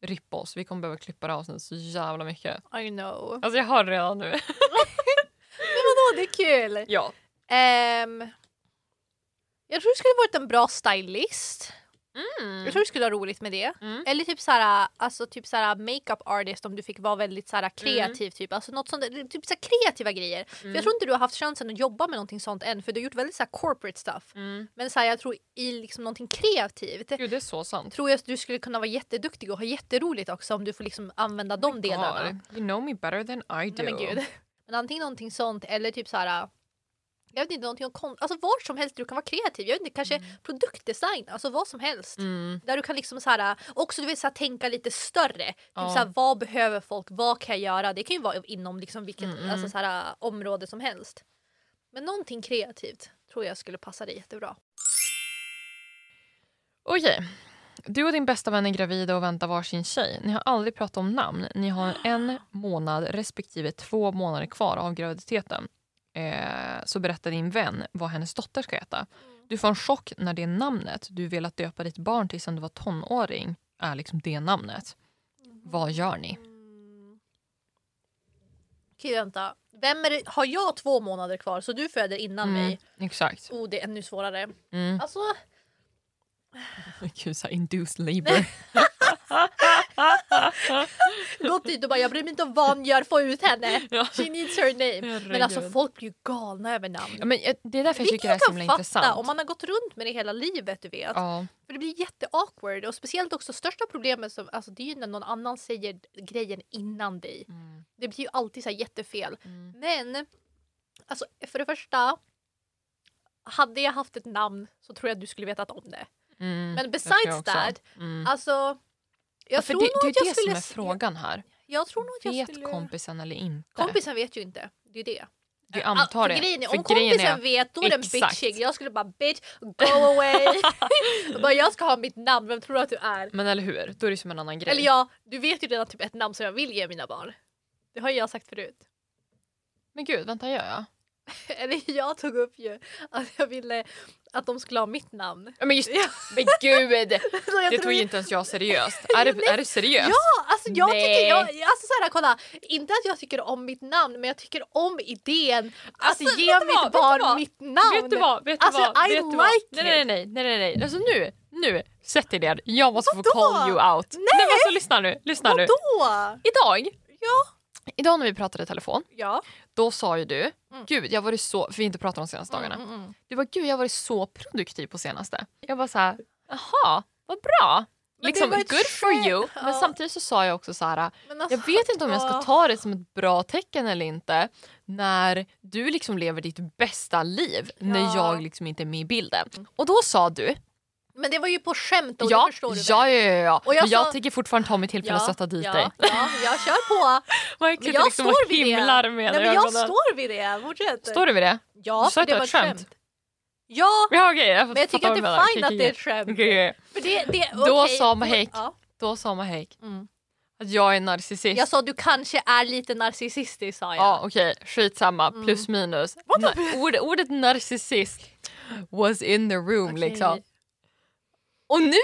[SPEAKER 1] ripp oss, vi kommer behöva klippa det här avsnittet så jävla mycket.
[SPEAKER 2] I know.
[SPEAKER 1] Alltså jag hör det redan nu.
[SPEAKER 2] Vadå det är kul!
[SPEAKER 1] ja.
[SPEAKER 2] Ehm, jag tror du skulle varit en bra stylist. Jag
[SPEAKER 1] Mm.
[SPEAKER 2] tror du skulle ha roligt med det.
[SPEAKER 1] Mm.
[SPEAKER 2] Eller typ såhär, alltså typ såhär makeup artist om du fick vara väldigt
[SPEAKER 1] Mm.
[SPEAKER 2] såhär kreativ typ. Alltså något sånt, där- typ såhär kreativa grejer. För jag tror inte du har haft chansen att jobba med någonting sånt än för du har gjort väldigt såhär corporate stuff.
[SPEAKER 1] Mm.
[SPEAKER 2] Men såhär jag tror i liksom någonting kreativt
[SPEAKER 1] Gud det är så sant.
[SPEAKER 2] tror jag att du skulle kunna vara jätteduktig och ha jätteroligt också om du får liksom använda de delarna.
[SPEAKER 1] God, you know me better than I do.
[SPEAKER 2] Nej, men gud. Men antingen någonting sånt eller typ så här. Jag vet inte, någonting om konst. Alltså var som helst du kan vara kreativ. Jag vet inte, kanske produktdesign. Alltså vad som helst.
[SPEAKER 1] Mm.
[SPEAKER 2] Där du kan liksom så här, också du vet, så här, tänka lite större. Typ
[SPEAKER 1] Ja.
[SPEAKER 2] så här, vad behöver folk? Vad kan jag göra? Det kan ju vara inom liksom vilket
[SPEAKER 1] Mm, mm.
[SPEAKER 2] alltså, så här, område som helst. Men någonting kreativt tror jag skulle passa dig jättebra.
[SPEAKER 1] Okej. Du och din bästa vän är gravida och väntar varsin tjej. Ni har aldrig pratat om namn. Ni har en månad respektive två månader kvar av graviditeten. Eh, så berättar din vän vad hennes dotter ska heta. Du får en chock när det namnet du velat döpa ditt barn till sen du var tonåring är liksom det namnet. Vad gör ni?
[SPEAKER 2] Mm. Okej vänta. Vem är det? Har jag två månader kvar så du föder innan
[SPEAKER 1] Mm.
[SPEAKER 2] mig?
[SPEAKER 1] Exakt.
[SPEAKER 2] Oh det är ännu svårare.
[SPEAKER 1] Mm.
[SPEAKER 2] Alltså
[SPEAKER 1] Gud, så här induced labor.
[SPEAKER 2] Gått dit och bara jag bryr mig inte om vad han gör, få ut henne.
[SPEAKER 1] Ja.
[SPEAKER 2] She needs her name.
[SPEAKER 1] Herregud.
[SPEAKER 2] Men alltså folk blir ju galna över namn.
[SPEAKER 1] Ja, men, eh, det är därför jag
[SPEAKER 2] Vilket
[SPEAKER 1] tycker det här är så himla intressant.
[SPEAKER 2] om man har gått runt med det hela livet du vet.
[SPEAKER 1] Ja.
[SPEAKER 2] För det blir jätteawkward och speciellt också största problemet som, alltså, det är ju när någon annan säger grejen innan dig.
[SPEAKER 1] Mm.
[SPEAKER 2] Det blir ju alltid så här jättefel.
[SPEAKER 1] Mm.
[SPEAKER 2] Men alltså för det första hade jag haft ett namn så tror jag att du skulle vetat om det.
[SPEAKER 1] Mm.
[SPEAKER 2] Men
[SPEAKER 1] Det tror jag
[SPEAKER 2] besides
[SPEAKER 1] också.
[SPEAKER 2] that,
[SPEAKER 1] Mm.
[SPEAKER 2] alltså jag
[SPEAKER 1] Ja, för
[SPEAKER 2] tror
[SPEAKER 1] det,
[SPEAKER 2] nog
[SPEAKER 1] det
[SPEAKER 2] att jag
[SPEAKER 1] är det
[SPEAKER 2] skulle...
[SPEAKER 1] som är
[SPEAKER 2] se-
[SPEAKER 1] frågan här.
[SPEAKER 2] Jag tror nog att jag
[SPEAKER 1] Vet
[SPEAKER 2] skulle...
[SPEAKER 1] kompisen eller inte?
[SPEAKER 2] Kompisen vet ju inte. Det är det. Alltså,
[SPEAKER 1] Du antar
[SPEAKER 2] för
[SPEAKER 1] det.
[SPEAKER 2] Grejen är,
[SPEAKER 1] För
[SPEAKER 2] om
[SPEAKER 1] grejen
[SPEAKER 2] kompisen
[SPEAKER 1] är-
[SPEAKER 2] vet då är den
[SPEAKER 1] Exakt.
[SPEAKER 2] bitchig. Jag skulle bara bitch, go away. jag, bara, jag ska ha mitt namn, vem tror du att du är?
[SPEAKER 1] Men eller hur, då är det som en annan grej.
[SPEAKER 2] Eller ja, du vet ju redan typ ett namn som jag vill ge mina barn. Det har ju jag sagt förut.
[SPEAKER 1] Men gud, vänta gör jag?
[SPEAKER 2] Eller jag tog upp ju att jag ville att de skulle ha mitt namn.
[SPEAKER 1] Ja, Men, just,
[SPEAKER 2] Ja.
[SPEAKER 1] men gud!
[SPEAKER 2] Så
[SPEAKER 1] Det
[SPEAKER 2] jag tror
[SPEAKER 1] tog
[SPEAKER 2] ju-
[SPEAKER 1] ju inte ens jag seriöst. Är det, är det seriöst?
[SPEAKER 2] Ja, alltså jag
[SPEAKER 1] Nej.
[SPEAKER 2] tycker... Jag, alltså så här, kolla. Inte att jag tycker om mitt namn, men jag tycker om idén
[SPEAKER 1] Alltså,
[SPEAKER 2] att ge
[SPEAKER 1] vet du
[SPEAKER 2] mitt
[SPEAKER 1] vad? Vet du
[SPEAKER 2] barn
[SPEAKER 1] vad?
[SPEAKER 2] mitt namn.
[SPEAKER 1] Vet du vad? Vet
[SPEAKER 2] Alltså,
[SPEAKER 1] du vad?
[SPEAKER 2] I
[SPEAKER 1] vet du
[SPEAKER 2] like
[SPEAKER 1] vad? Nej, nej, nej, nej, nej, nej. Alltså nu, nu, sätt dig ner. Jag måste
[SPEAKER 2] Vadå?
[SPEAKER 1] få call you out.
[SPEAKER 2] Nej.
[SPEAKER 1] men alltså lyssna nu, lyssna nu.
[SPEAKER 2] Vadå?
[SPEAKER 1] Idag,
[SPEAKER 2] Ja.
[SPEAKER 1] idag när vi pratade i telefon,
[SPEAKER 2] Ja.
[SPEAKER 1] då sa ju du,
[SPEAKER 2] Mm.
[SPEAKER 1] gud jag har varit så, för vi har inte pratat de senaste dagarna.
[SPEAKER 2] Mm, mm, mm.
[SPEAKER 1] Du var gud jag har varit så produktiv på senaste. Jag bara så här, jaha, vad bra.
[SPEAKER 2] Men
[SPEAKER 1] Liksom,
[SPEAKER 2] det var
[SPEAKER 1] good
[SPEAKER 2] ett
[SPEAKER 1] for
[SPEAKER 2] skämt.
[SPEAKER 1] you. Men
[SPEAKER 2] Ja.
[SPEAKER 1] samtidigt så sa jag också så här,
[SPEAKER 2] Men alltså,
[SPEAKER 1] jag vet inte om jag ska
[SPEAKER 2] Ja.
[SPEAKER 1] ta det som ett bra tecken eller inte när du liksom lever ditt bästa liv
[SPEAKER 2] Ja. Mm.
[SPEAKER 1] när jag liksom inte är med i bilden. Och då sa du,
[SPEAKER 2] Men det var ju på skämt och
[SPEAKER 1] ja,
[SPEAKER 2] det förstår du väl?
[SPEAKER 1] ja, ja, ja, ja.
[SPEAKER 2] Och jag
[SPEAKER 1] men jag
[SPEAKER 2] sa-
[SPEAKER 1] tänker fortfarande ta mig tillfälle att sätta dit
[SPEAKER 2] ja,
[SPEAKER 1] dig.
[SPEAKER 2] Ja, jag kör på.
[SPEAKER 1] Man
[SPEAKER 2] Men
[SPEAKER 1] kan
[SPEAKER 2] jag
[SPEAKER 1] liksom och
[SPEAKER 2] står vid det.
[SPEAKER 1] himlar med
[SPEAKER 2] Nej, men jag
[SPEAKER 1] ögonen.
[SPEAKER 2] står vid det. Fortsätt.
[SPEAKER 1] Står du vid det?
[SPEAKER 2] ja,
[SPEAKER 1] du sa
[SPEAKER 2] för
[SPEAKER 1] att
[SPEAKER 2] det
[SPEAKER 1] det
[SPEAKER 2] var
[SPEAKER 1] var
[SPEAKER 2] ett
[SPEAKER 1] ett
[SPEAKER 2] skämt. Ja,
[SPEAKER 1] Ja, okej, jag
[SPEAKER 2] men jag tycker att det är fine att det är ett
[SPEAKER 1] skämt.
[SPEAKER 2] skämt. För det, det,
[SPEAKER 1] Då
[SPEAKER 2] okej.
[SPEAKER 1] sa Mahek,
[SPEAKER 2] Ja.
[SPEAKER 1] Då sa Mahek
[SPEAKER 2] Mm.
[SPEAKER 1] att jag är narcissist.
[SPEAKER 2] Jag sa du kanske är lite narcissistisk sa jag.
[SPEAKER 1] Ja okej, skitsamma.
[SPEAKER 2] Mm.
[SPEAKER 1] Plus minus. Na- ord, ordet narcissist was in the room
[SPEAKER 2] Okej.
[SPEAKER 1] liksom. Och nu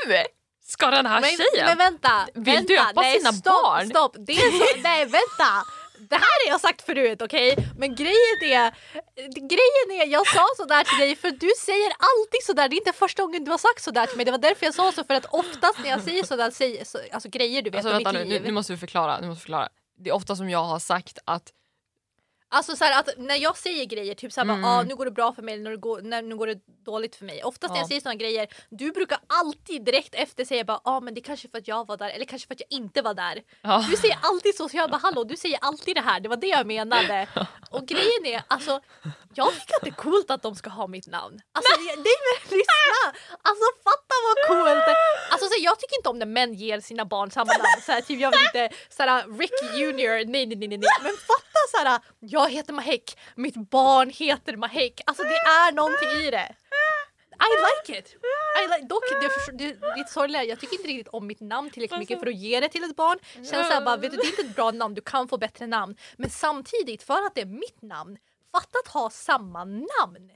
[SPEAKER 1] ska den här
[SPEAKER 2] Men,
[SPEAKER 1] tjejen...
[SPEAKER 2] men vänta!
[SPEAKER 1] Vill
[SPEAKER 2] vänta,
[SPEAKER 1] döpa
[SPEAKER 2] nej,
[SPEAKER 1] sina
[SPEAKER 2] stopp,
[SPEAKER 1] barn?
[SPEAKER 2] Stopp, det är så, nej vänta! Det här har jag sagt förut okej? Men grejen är, grejen är, jag sa sådär till dig för du säger alltid sådär, det är inte första gången du har sagt sådär till mig. Det var därför jag sa så för att oftast när jag säger sådär, säger, så, alltså grejer du vet
[SPEAKER 1] alltså,
[SPEAKER 2] om
[SPEAKER 1] vänta
[SPEAKER 2] mitt
[SPEAKER 1] nu, nu,
[SPEAKER 2] liv.
[SPEAKER 1] nu måste du förklara. Nu måste du förklara. Det är ofta som jag har sagt att
[SPEAKER 2] Alltså så här, att när jag säger grejer, typ såhär
[SPEAKER 1] Mm.
[SPEAKER 2] bara, ah, nu går det bra för mig eller när det går, när, nu går det dåligt för mig. Oftast när
[SPEAKER 1] Ja.
[SPEAKER 2] jag säger sådana grejer, du brukar alltid direkt efter säga bara, ah, men det är kanske för att jag var där eller kanske för att jag inte var där.
[SPEAKER 1] ja,
[SPEAKER 2] Du säger alltid så, så jag bara hallå du säger alltid det här, det var det jag menade. Och grejen är alltså, jag tycker att det är coolt att de ska ha mitt namn. Alltså jag- nej men lyssna! Alltså fatta vad coolt! Alltså så, jag tycker inte om när män ger sina barn samma namn. Så här, typ, jag vill inte såhär Rick Junior, nej nej nej nej. nej. Men fatta såhär, jag heter Mahek, mitt barn heter Mahek. Alltså det är någonting i det. I like it! I like, dock, det, förs- det, det är sorgliga, jag tycker inte riktigt om mitt namn tillräckligt mycket för att ge det till ett barn. Känns såhär bara, vet
[SPEAKER 1] Mm.
[SPEAKER 2] du det är inte ett bra namn, du kan få bättre namn. Men samtidigt, för att det är mitt namn, fatta att ha samma namn!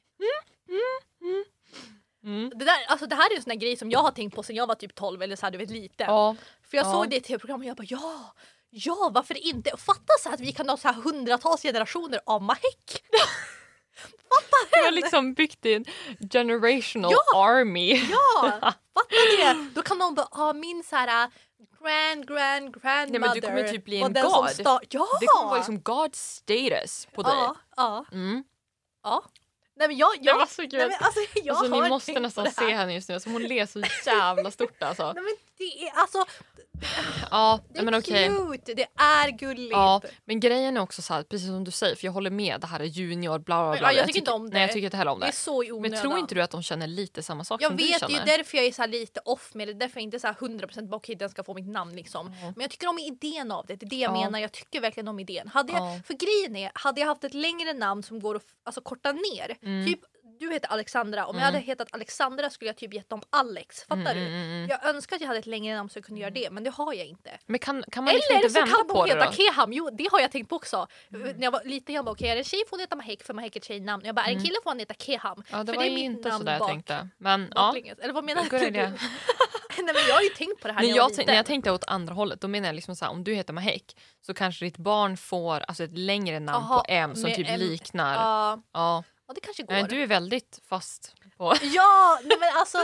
[SPEAKER 1] Mm.
[SPEAKER 2] Det, där, alltså, det här är en sån här grej som jag har tänkt på sen jag var typ 12 eller så här, du vet liten.
[SPEAKER 1] ja,
[SPEAKER 2] För jag
[SPEAKER 1] Ja.
[SPEAKER 2] såg det i tv-programmet och jag bara ja, ja varför inte? Och Fatta så här att vi kan ha så här hundratals generationer av Mahek!
[SPEAKER 1] du har liksom byggt din generational army.
[SPEAKER 2] Ja, fatta det! Då kan någon bara, ah, min så här grand, grand, grandmother.
[SPEAKER 1] Nej, men du kommer typ bli
[SPEAKER 2] var
[SPEAKER 1] en
[SPEAKER 2] den som
[SPEAKER 1] god.
[SPEAKER 2] sta- ja!
[SPEAKER 1] Det kommer vara liksom God status på dig.
[SPEAKER 2] ja, ja,
[SPEAKER 1] Mm.
[SPEAKER 2] ja. Nej men jag,
[SPEAKER 1] Det
[SPEAKER 2] jag,
[SPEAKER 1] var så kul.
[SPEAKER 2] nej, men, alltså, jag
[SPEAKER 1] alltså,
[SPEAKER 2] har
[SPEAKER 1] ni måste
[SPEAKER 2] tänkt
[SPEAKER 1] nästan
[SPEAKER 2] på det här.
[SPEAKER 1] se henne just nu, alltså, hon ler så jävla stort alltså.
[SPEAKER 2] Nej men det är alltså,
[SPEAKER 1] Ja,
[SPEAKER 2] det är
[SPEAKER 1] nej, men okej.
[SPEAKER 2] cute, det är gulligt.
[SPEAKER 1] Ja, men grejen är också så här, precis som du säger, för jag håller med, det här är junior, bla bla bla.
[SPEAKER 2] Ja, jag tycker inte om det.
[SPEAKER 1] Nej, jag tycker inte heller om
[SPEAKER 2] det är
[SPEAKER 1] det.
[SPEAKER 2] så i onödan.
[SPEAKER 1] Men tror inte du att de känner lite samma sak
[SPEAKER 2] Jag
[SPEAKER 1] som
[SPEAKER 2] vet,
[SPEAKER 1] du
[SPEAKER 2] det är
[SPEAKER 1] känner?
[SPEAKER 2] ju därför jag är så här lite off med det. Därför jag inte är så här 100% bak hit, den ska få mitt namn liksom. Men jag tycker om idén av det. Det är det jag
[SPEAKER 1] Ja.
[SPEAKER 2] menar. Jag tycker verkligen om idén. Hade jag,
[SPEAKER 1] Ja.
[SPEAKER 2] För grejen är, hade jag haft ett längre namn som går att f- alltså, korta ner.
[SPEAKER 1] Mm.
[SPEAKER 2] Typ du heter Alexandra. Om jag
[SPEAKER 1] Mm.
[SPEAKER 2] hade hetat Alexandra skulle jag typ gett dem Alex. Fattar
[SPEAKER 1] Mm,
[SPEAKER 2] du?
[SPEAKER 1] mm, mm, mm.
[SPEAKER 2] Jag önskar att jag hade ett längre namn så jag kunde göra det men det har jag inte.
[SPEAKER 1] Men kan, kan man liksom
[SPEAKER 2] Eller
[SPEAKER 1] inte
[SPEAKER 2] så
[SPEAKER 1] vända
[SPEAKER 2] kan
[SPEAKER 1] på
[SPEAKER 2] hon
[SPEAKER 1] det
[SPEAKER 2] heta
[SPEAKER 1] då? Mm.
[SPEAKER 2] Keham, jo det har jag tänkt på också. När jag var liten jag bara okej är det en tjej får hon heta Mahek för Mahek är ett tjejnamn. Jag bara är det en kille får han heta Keham.
[SPEAKER 1] Mm. Ja, det
[SPEAKER 2] för
[SPEAKER 1] var
[SPEAKER 2] det är
[SPEAKER 1] ju
[SPEAKER 2] mitt
[SPEAKER 1] inte
[SPEAKER 2] namn
[SPEAKER 1] sådär jag
[SPEAKER 2] bak-
[SPEAKER 1] tänkte. Men ja.
[SPEAKER 2] baklänges. Eller vad menar
[SPEAKER 1] Good
[SPEAKER 2] du?
[SPEAKER 1] idea.
[SPEAKER 2] Nej men jag har ju tänkt på det här
[SPEAKER 1] När
[SPEAKER 2] när
[SPEAKER 1] jag,
[SPEAKER 2] jag,
[SPEAKER 1] tän- när jag tänkte åt andra hållet, då menar jag liksom så här, om du heter Mahek så kanske ditt barn får alltså, ett längre namn
[SPEAKER 2] Aha,
[SPEAKER 1] på M som
[SPEAKER 2] med
[SPEAKER 1] typ
[SPEAKER 2] M.
[SPEAKER 1] liknar. Ja.
[SPEAKER 2] Ja, ja, det kanske går.
[SPEAKER 1] Nej, du är väldigt fast på...
[SPEAKER 2] Ja, nej men alltså.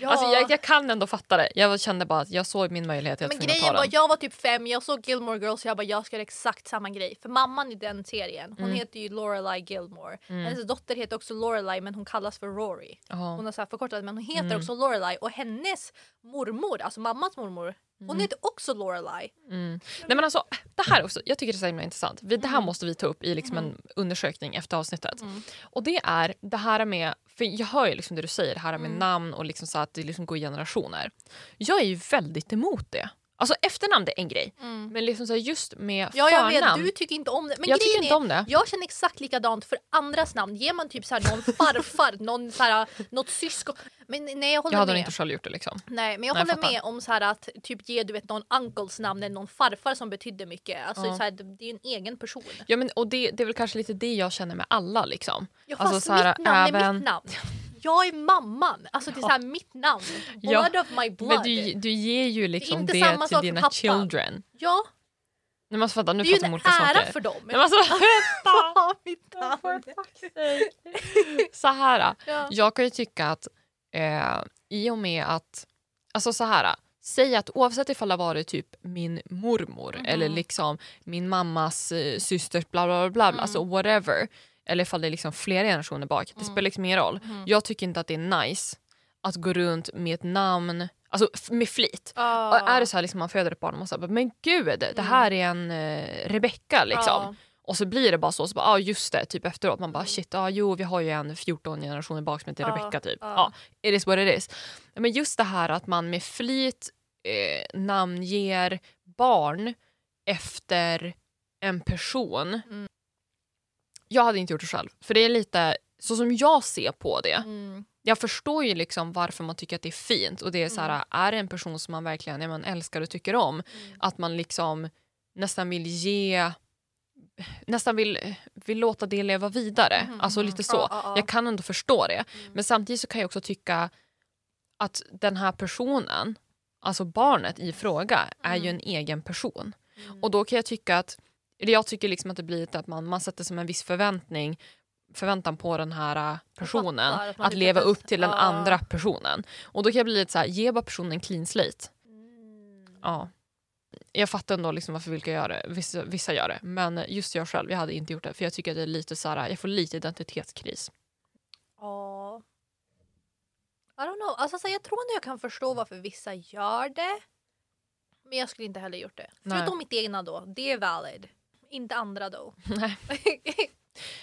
[SPEAKER 2] Ja.
[SPEAKER 1] Alltså, jag, jag kan ändå fatta det. Jag kände bara att jag såg min möjlighet. Jag
[SPEAKER 2] men
[SPEAKER 1] var tvungen
[SPEAKER 2] grejen
[SPEAKER 1] att ta
[SPEAKER 2] var,
[SPEAKER 1] den.
[SPEAKER 2] jag var typ fem, jag såg Gilmore Girls och jag bara jag ska göra exakt samma grej. För mamman i den serien, hon
[SPEAKER 1] Mm.
[SPEAKER 2] heter ju Lorelai Gilmore.
[SPEAKER 1] Mm.
[SPEAKER 2] Hennes dotter heter också Lorelai men hon kallas för Rory.
[SPEAKER 1] Ja.
[SPEAKER 2] Hon har så här förkortat men hon heter
[SPEAKER 1] Mm.
[SPEAKER 2] också Lorelai och hennes mormor, alltså mammans mormor, hon
[SPEAKER 1] Mm.
[SPEAKER 2] heter också Lorelai.
[SPEAKER 1] Mm. Nej, men alltså, det här också, jag tycker det är så himla intressant. Vi, det här
[SPEAKER 2] Mm.
[SPEAKER 1] måste vi ta upp i liksom en undersökning efter avsnittet.
[SPEAKER 2] Mm.
[SPEAKER 1] Och det är det här med, för jag hör ju liksom det du säger, det här med
[SPEAKER 2] Mm.
[SPEAKER 1] namn och liksom så att det liksom går i generationer. Jag är ju väldigt emot det. Alltså efternamn det är en grej, men liksom så här, just med
[SPEAKER 2] Mm. Ja jag
[SPEAKER 1] förnamn.
[SPEAKER 2] vet, du tycker inte om det. Men
[SPEAKER 1] jag
[SPEAKER 2] grejen
[SPEAKER 1] tycker
[SPEAKER 2] är,
[SPEAKER 1] inte om det.
[SPEAKER 2] Jag känner exakt likadant för andras namn. Ger man typ så här någon farfar, någon så här, något syskon. Men nej jag
[SPEAKER 1] Jag
[SPEAKER 2] håller
[SPEAKER 1] hade nog
[SPEAKER 2] med.
[SPEAKER 1] inte själv gjort det. Liksom.
[SPEAKER 2] Nej, men jag
[SPEAKER 1] Nej, jag
[SPEAKER 2] håller
[SPEAKER 1] fattar.
[SPEAKER 2] med om så här att typ ge du vet, någon uncles namn eller någon farfar som betydde mycket. Alltså,
[SPEAKER 1] Ja.
[SPEAKER 2] så här, det- det är ju en egen person.
[SPEAKER 1] Ja, men, och det, det är väl kanske lite det jag känner med alla. Liksom.
[SPEAKER 2] Ja,
[SPEAKER 1] Alltså,
[SPEAKER 2] fast
[SPEAKER 1] så här,
[SPEAKER 2] mitt namn är
[SPEAKER 1] även-
[SPEAKER 2] mitt namn. Jag är mamman. Alltså det är så här, mitt namn.
[SPEAKER 1] Ja,
[SPEAKER 2] Blood of my blood.
[SPEAKER 1] Men du, du ger ju liksom
[SPEAKER 2] inte
[SPEAKER 1] det,
[SPEAKER 2] samma sak
[SPEAKER 1] till
[SPEAKER 2] för
[SPEAKER 1] dina
[SPEAKER 2] pappa.
[SPEAKER 1] children.
[SPEAKER 2] Ja,
[SPEAKER 1] Nej, men alltså, vänta, nu
[SPEAKER 2] det är ju
[SPEAKER 1] pratar vi
[SPEAKER 2] en
[SPEAKER 1] om
[SPEAKER 2] ära
[SPEAKER 1] olika saker.
[SPEAKER 2] för dem.
[SPEAKER 1] Nej, men alltså,
[SPEAKER 2] Ja, mitt
[SPEAKER 1] Oh, for
[SPEAKER 2] namn.
[SPEAKER 1] fuck's sake. så här.
[SPEAKER 2] Ja.
[SPEAKER 1] Jag kan ju tycka att eh, i och med att... Alltså så här. Säg att oavsett ifall det har varit typ min mormor
[SPEAKER 2] Mhm.
[SPEAKER 1] eller liksom min mammas eh, systers bla bla bla, bla
[SPEAKER 2] Mm.
[SPEAKER 1] alltså whatever. Eller ifall det är liksom flera generationer bak. Det
[SPEAKER 2] Mm.
[SPEAKER 1] spelar liksom ingen roll.
[SPEAKER 2] Mhm.
[SPEAKER 1] Jag tycker inte att det är nice att gå runt med ett namn, alltså f- med flit.
[SPEAKER 2] Ja. Mm.
[SPEAKER 1] Och är det så här liksom man föder ett barn och man säger men gud det här är en eh, Rebecka liksom.
[SPEAKER 2] Ja.
[SPEAKER 1] Och så blir det bara så, så bara, ah, just det, typ efteråt. Man bara shit, ah, jo vi har ju en 14 generationer bak som heter
[SPEAKER 2] Mm. Ja,
[SPEAKER 1] Rebecca typ. Ja.
[SPEAKER 2] ja.
[SPEAKER 1] it is what it is. Men just det här att man med flit eh, namnger barn efter en person.
[SPEAKER 2] Mm.
[SPEAKER 1] Jag hade inte gjort det själv, för det är lite så som jag ser på det.
[SPEAKER 2] Mm.
[SPEAKER 1] jag förstår ju liksom varför man tycker att det är fint. Och det är så här, Är det en person som man verkligen ja, man älskar och tycker om,
[SPEAKER 2] Mm.
[SPEAKER 1] att man liksom nästan vill ge nästan vill, vill låta det leva vidare.
[SPEAKER 2] Mm,
[SPEAKER 1] Alltså lite så.
[SPEAKER 2] Ja, Mm. ja, ja.
[SPEAKER 1] Jag kan ändå förstå det. Men samtidigt så kan jag också tycka att den här personen, alltså barnet i fråga, är ju en egen person.
[SPEAKER 2] Mm.
[SPEAKER 1] Och då kan jag tycka att, eller jag tycker liksom att det blir lite att man, man sätter som en viss förväntning förväntan på den här äh, personen
[SPEAKER 2] fattar att
[SPEAKER 1] att,
[SPEAKER 2] man typ
[SPEAKER 1] leva
[SPEAKER 2] inte-
[SPEAKER 1] upp till den
[SPEAKER 2] ja.
[SPEAKER 1] andra personen. Och då kan jag bli lite så här, ge bara personen en clean slate.
[SPEAKER 2] Mm.
[SPEAKER 1] Ja. Jag fattar ändå liksom varför vilka gör det. Vissa, vissa gör det. Men just jag själv, jag hade inte gjort det. För jag tycker att det är lite så här, jag får lite identitetskris.
[SPEAKER 2] Ja. I don't know. Alltså, så här, jag tror ändå jag kan förstå varför vissa gör det. Men jag skulle inte heller gjort det.
[SPEAKER 1] Nej.
[SPEAKER 2] Förutom mitt egna då. Det är valid. Inte andra då.
[SPEAKER 1] Nej.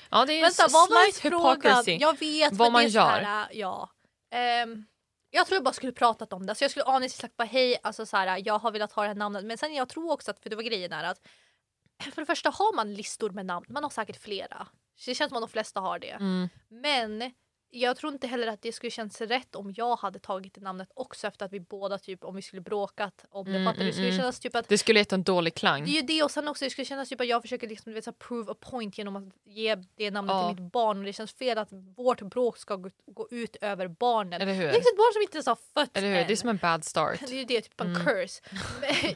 [SPEAKER 1] Ja, det är
[SPEAKER 2] Vänta, vad var ens
[SPEAKER 1] slight
[SPEAKER 2] frågan?
[SPEAKER 1] hypocrisy.
[SPEAKER 2] Jag vet
[SPEAKER 1] Vad
[SPEAKER 2] men
[SPEAKER 1] man
[SPEAKER 2] det är så Här, äh, ja. Ehm, jag tror jag bara skulle pratat om det. Så jag skulle honestly sagt bara hej, alltså så här, jag har velat ha det här namnet. Men sen jag tror också att, för det var grejen är att för det första har man listor med namn. Man har säkert flera. Så det känns som att de flesta har det.
[SPEAKER 1] Mm.
[SPEAKER 2] Men jag tror inte heller att det skulle känns rätt om jag hade tagit det namnet också efter att vi båda typ om vi skulle bråkat om det.
[SPEAKER 1] Mm,
[SPEAKER 2] Fattar du?
[SPEAKER 1] mm,
[SPEAKER 2] Det skulle
[SPEAKER 1] mm.
[SPEAKER 2] kännas typ att
[SPEAKER 1] Det skulle gett en dålig klang.
[SPEAKER 2] det är ju det och sen också det skulle kännas typ att jag försöker liksom, du vet, så här, prove a point genom att ge det namnet
[SPEAKER 1] Ja.
[SPEAKER 2] till mitt barn och det känns fel att vårt bråk ska gå, gå ut över barnen.
[SPEAKER 1] Eller hur?
[SPEAKER 2] Det är liksom ett barn som inte ens har fötts
[SPEAKER 1] Eller hur?
[SPEAKER 2] än.
[SPEAKER 1] Det är som en bad start.
[SPEAKER 2] Det är ju det, typ en
[SPEAKER 1] Mm.
[SPEAKER 2] curse.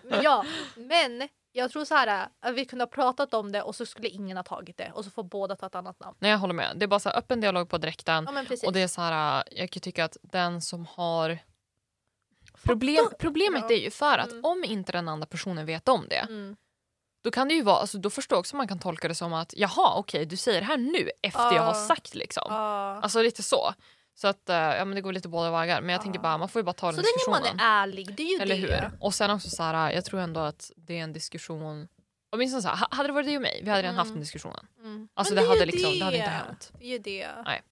[SPEAKER 2] Men, ja, men jag tror så här att vi kunde ha pratat om det och så skulle ingen ha tagit det och så får båda ta ett annat namn.
[SPEAKER 1] Nej, jag håller med. Det är bara så här, öppen dialog på direkten.
[SPEAKER 2] Ja, men precis.
[SPEAKER 1] Mm. Och det är så här, äh, jag kan tycka att den som har... Problem, problemet
[SPEAKER 2] Ja.
[SPEAKER 1] är ju för att
[SPEAKER 2] Mm.
[SPEAKER 1] om inte den andra personen vet om det,
[SPEAKER 2] Mm.
[SPEAKER 1] då kan det ju vara, alltså, då förstår jag också man kan tolka det som att jaha okej du säger det här nu efter jag har
[SPEAKER 2] Ja.
[SPEAKER 1] sagt liksom.
[SPEAKER 2] Ja.
[SPEAKER 1] Alltså lite så. Så att eh, ja, men det går lite båda vägar. Men jag tänker
[SPEAKER 2] Ja.
[SPEAKER 1] bara man får ju bara ta den
[SPEAKER 2] Så länge
[SPEAKER 1] diskussionen.
[SPEAKER 2] man är ärlig, det är ju
[SPEAKER 1] Eller
[SPEAKER 2] det.
[SPEAKER 1] hur? Och sen också så här, äh, jag tror ändå att det är en diskussion. Åtminstone så här, ha- hade det varit du och mig, vi hade redan haft den
[SPEAKER 2] Mm.
[SPEAKER 1] diskussionen.
[SPEAKER 2] Mm.
[SPEAKER 1] Alltså
[SPEAKER 2] Men
[SPEAKER 1] det,
[SPEAKER 2] är ju
[SPEAKER 1] hade liksom, det. hade inte hänt.
[SPEAKER 2] Det är ju det.
[SPEAKER 1] Nej.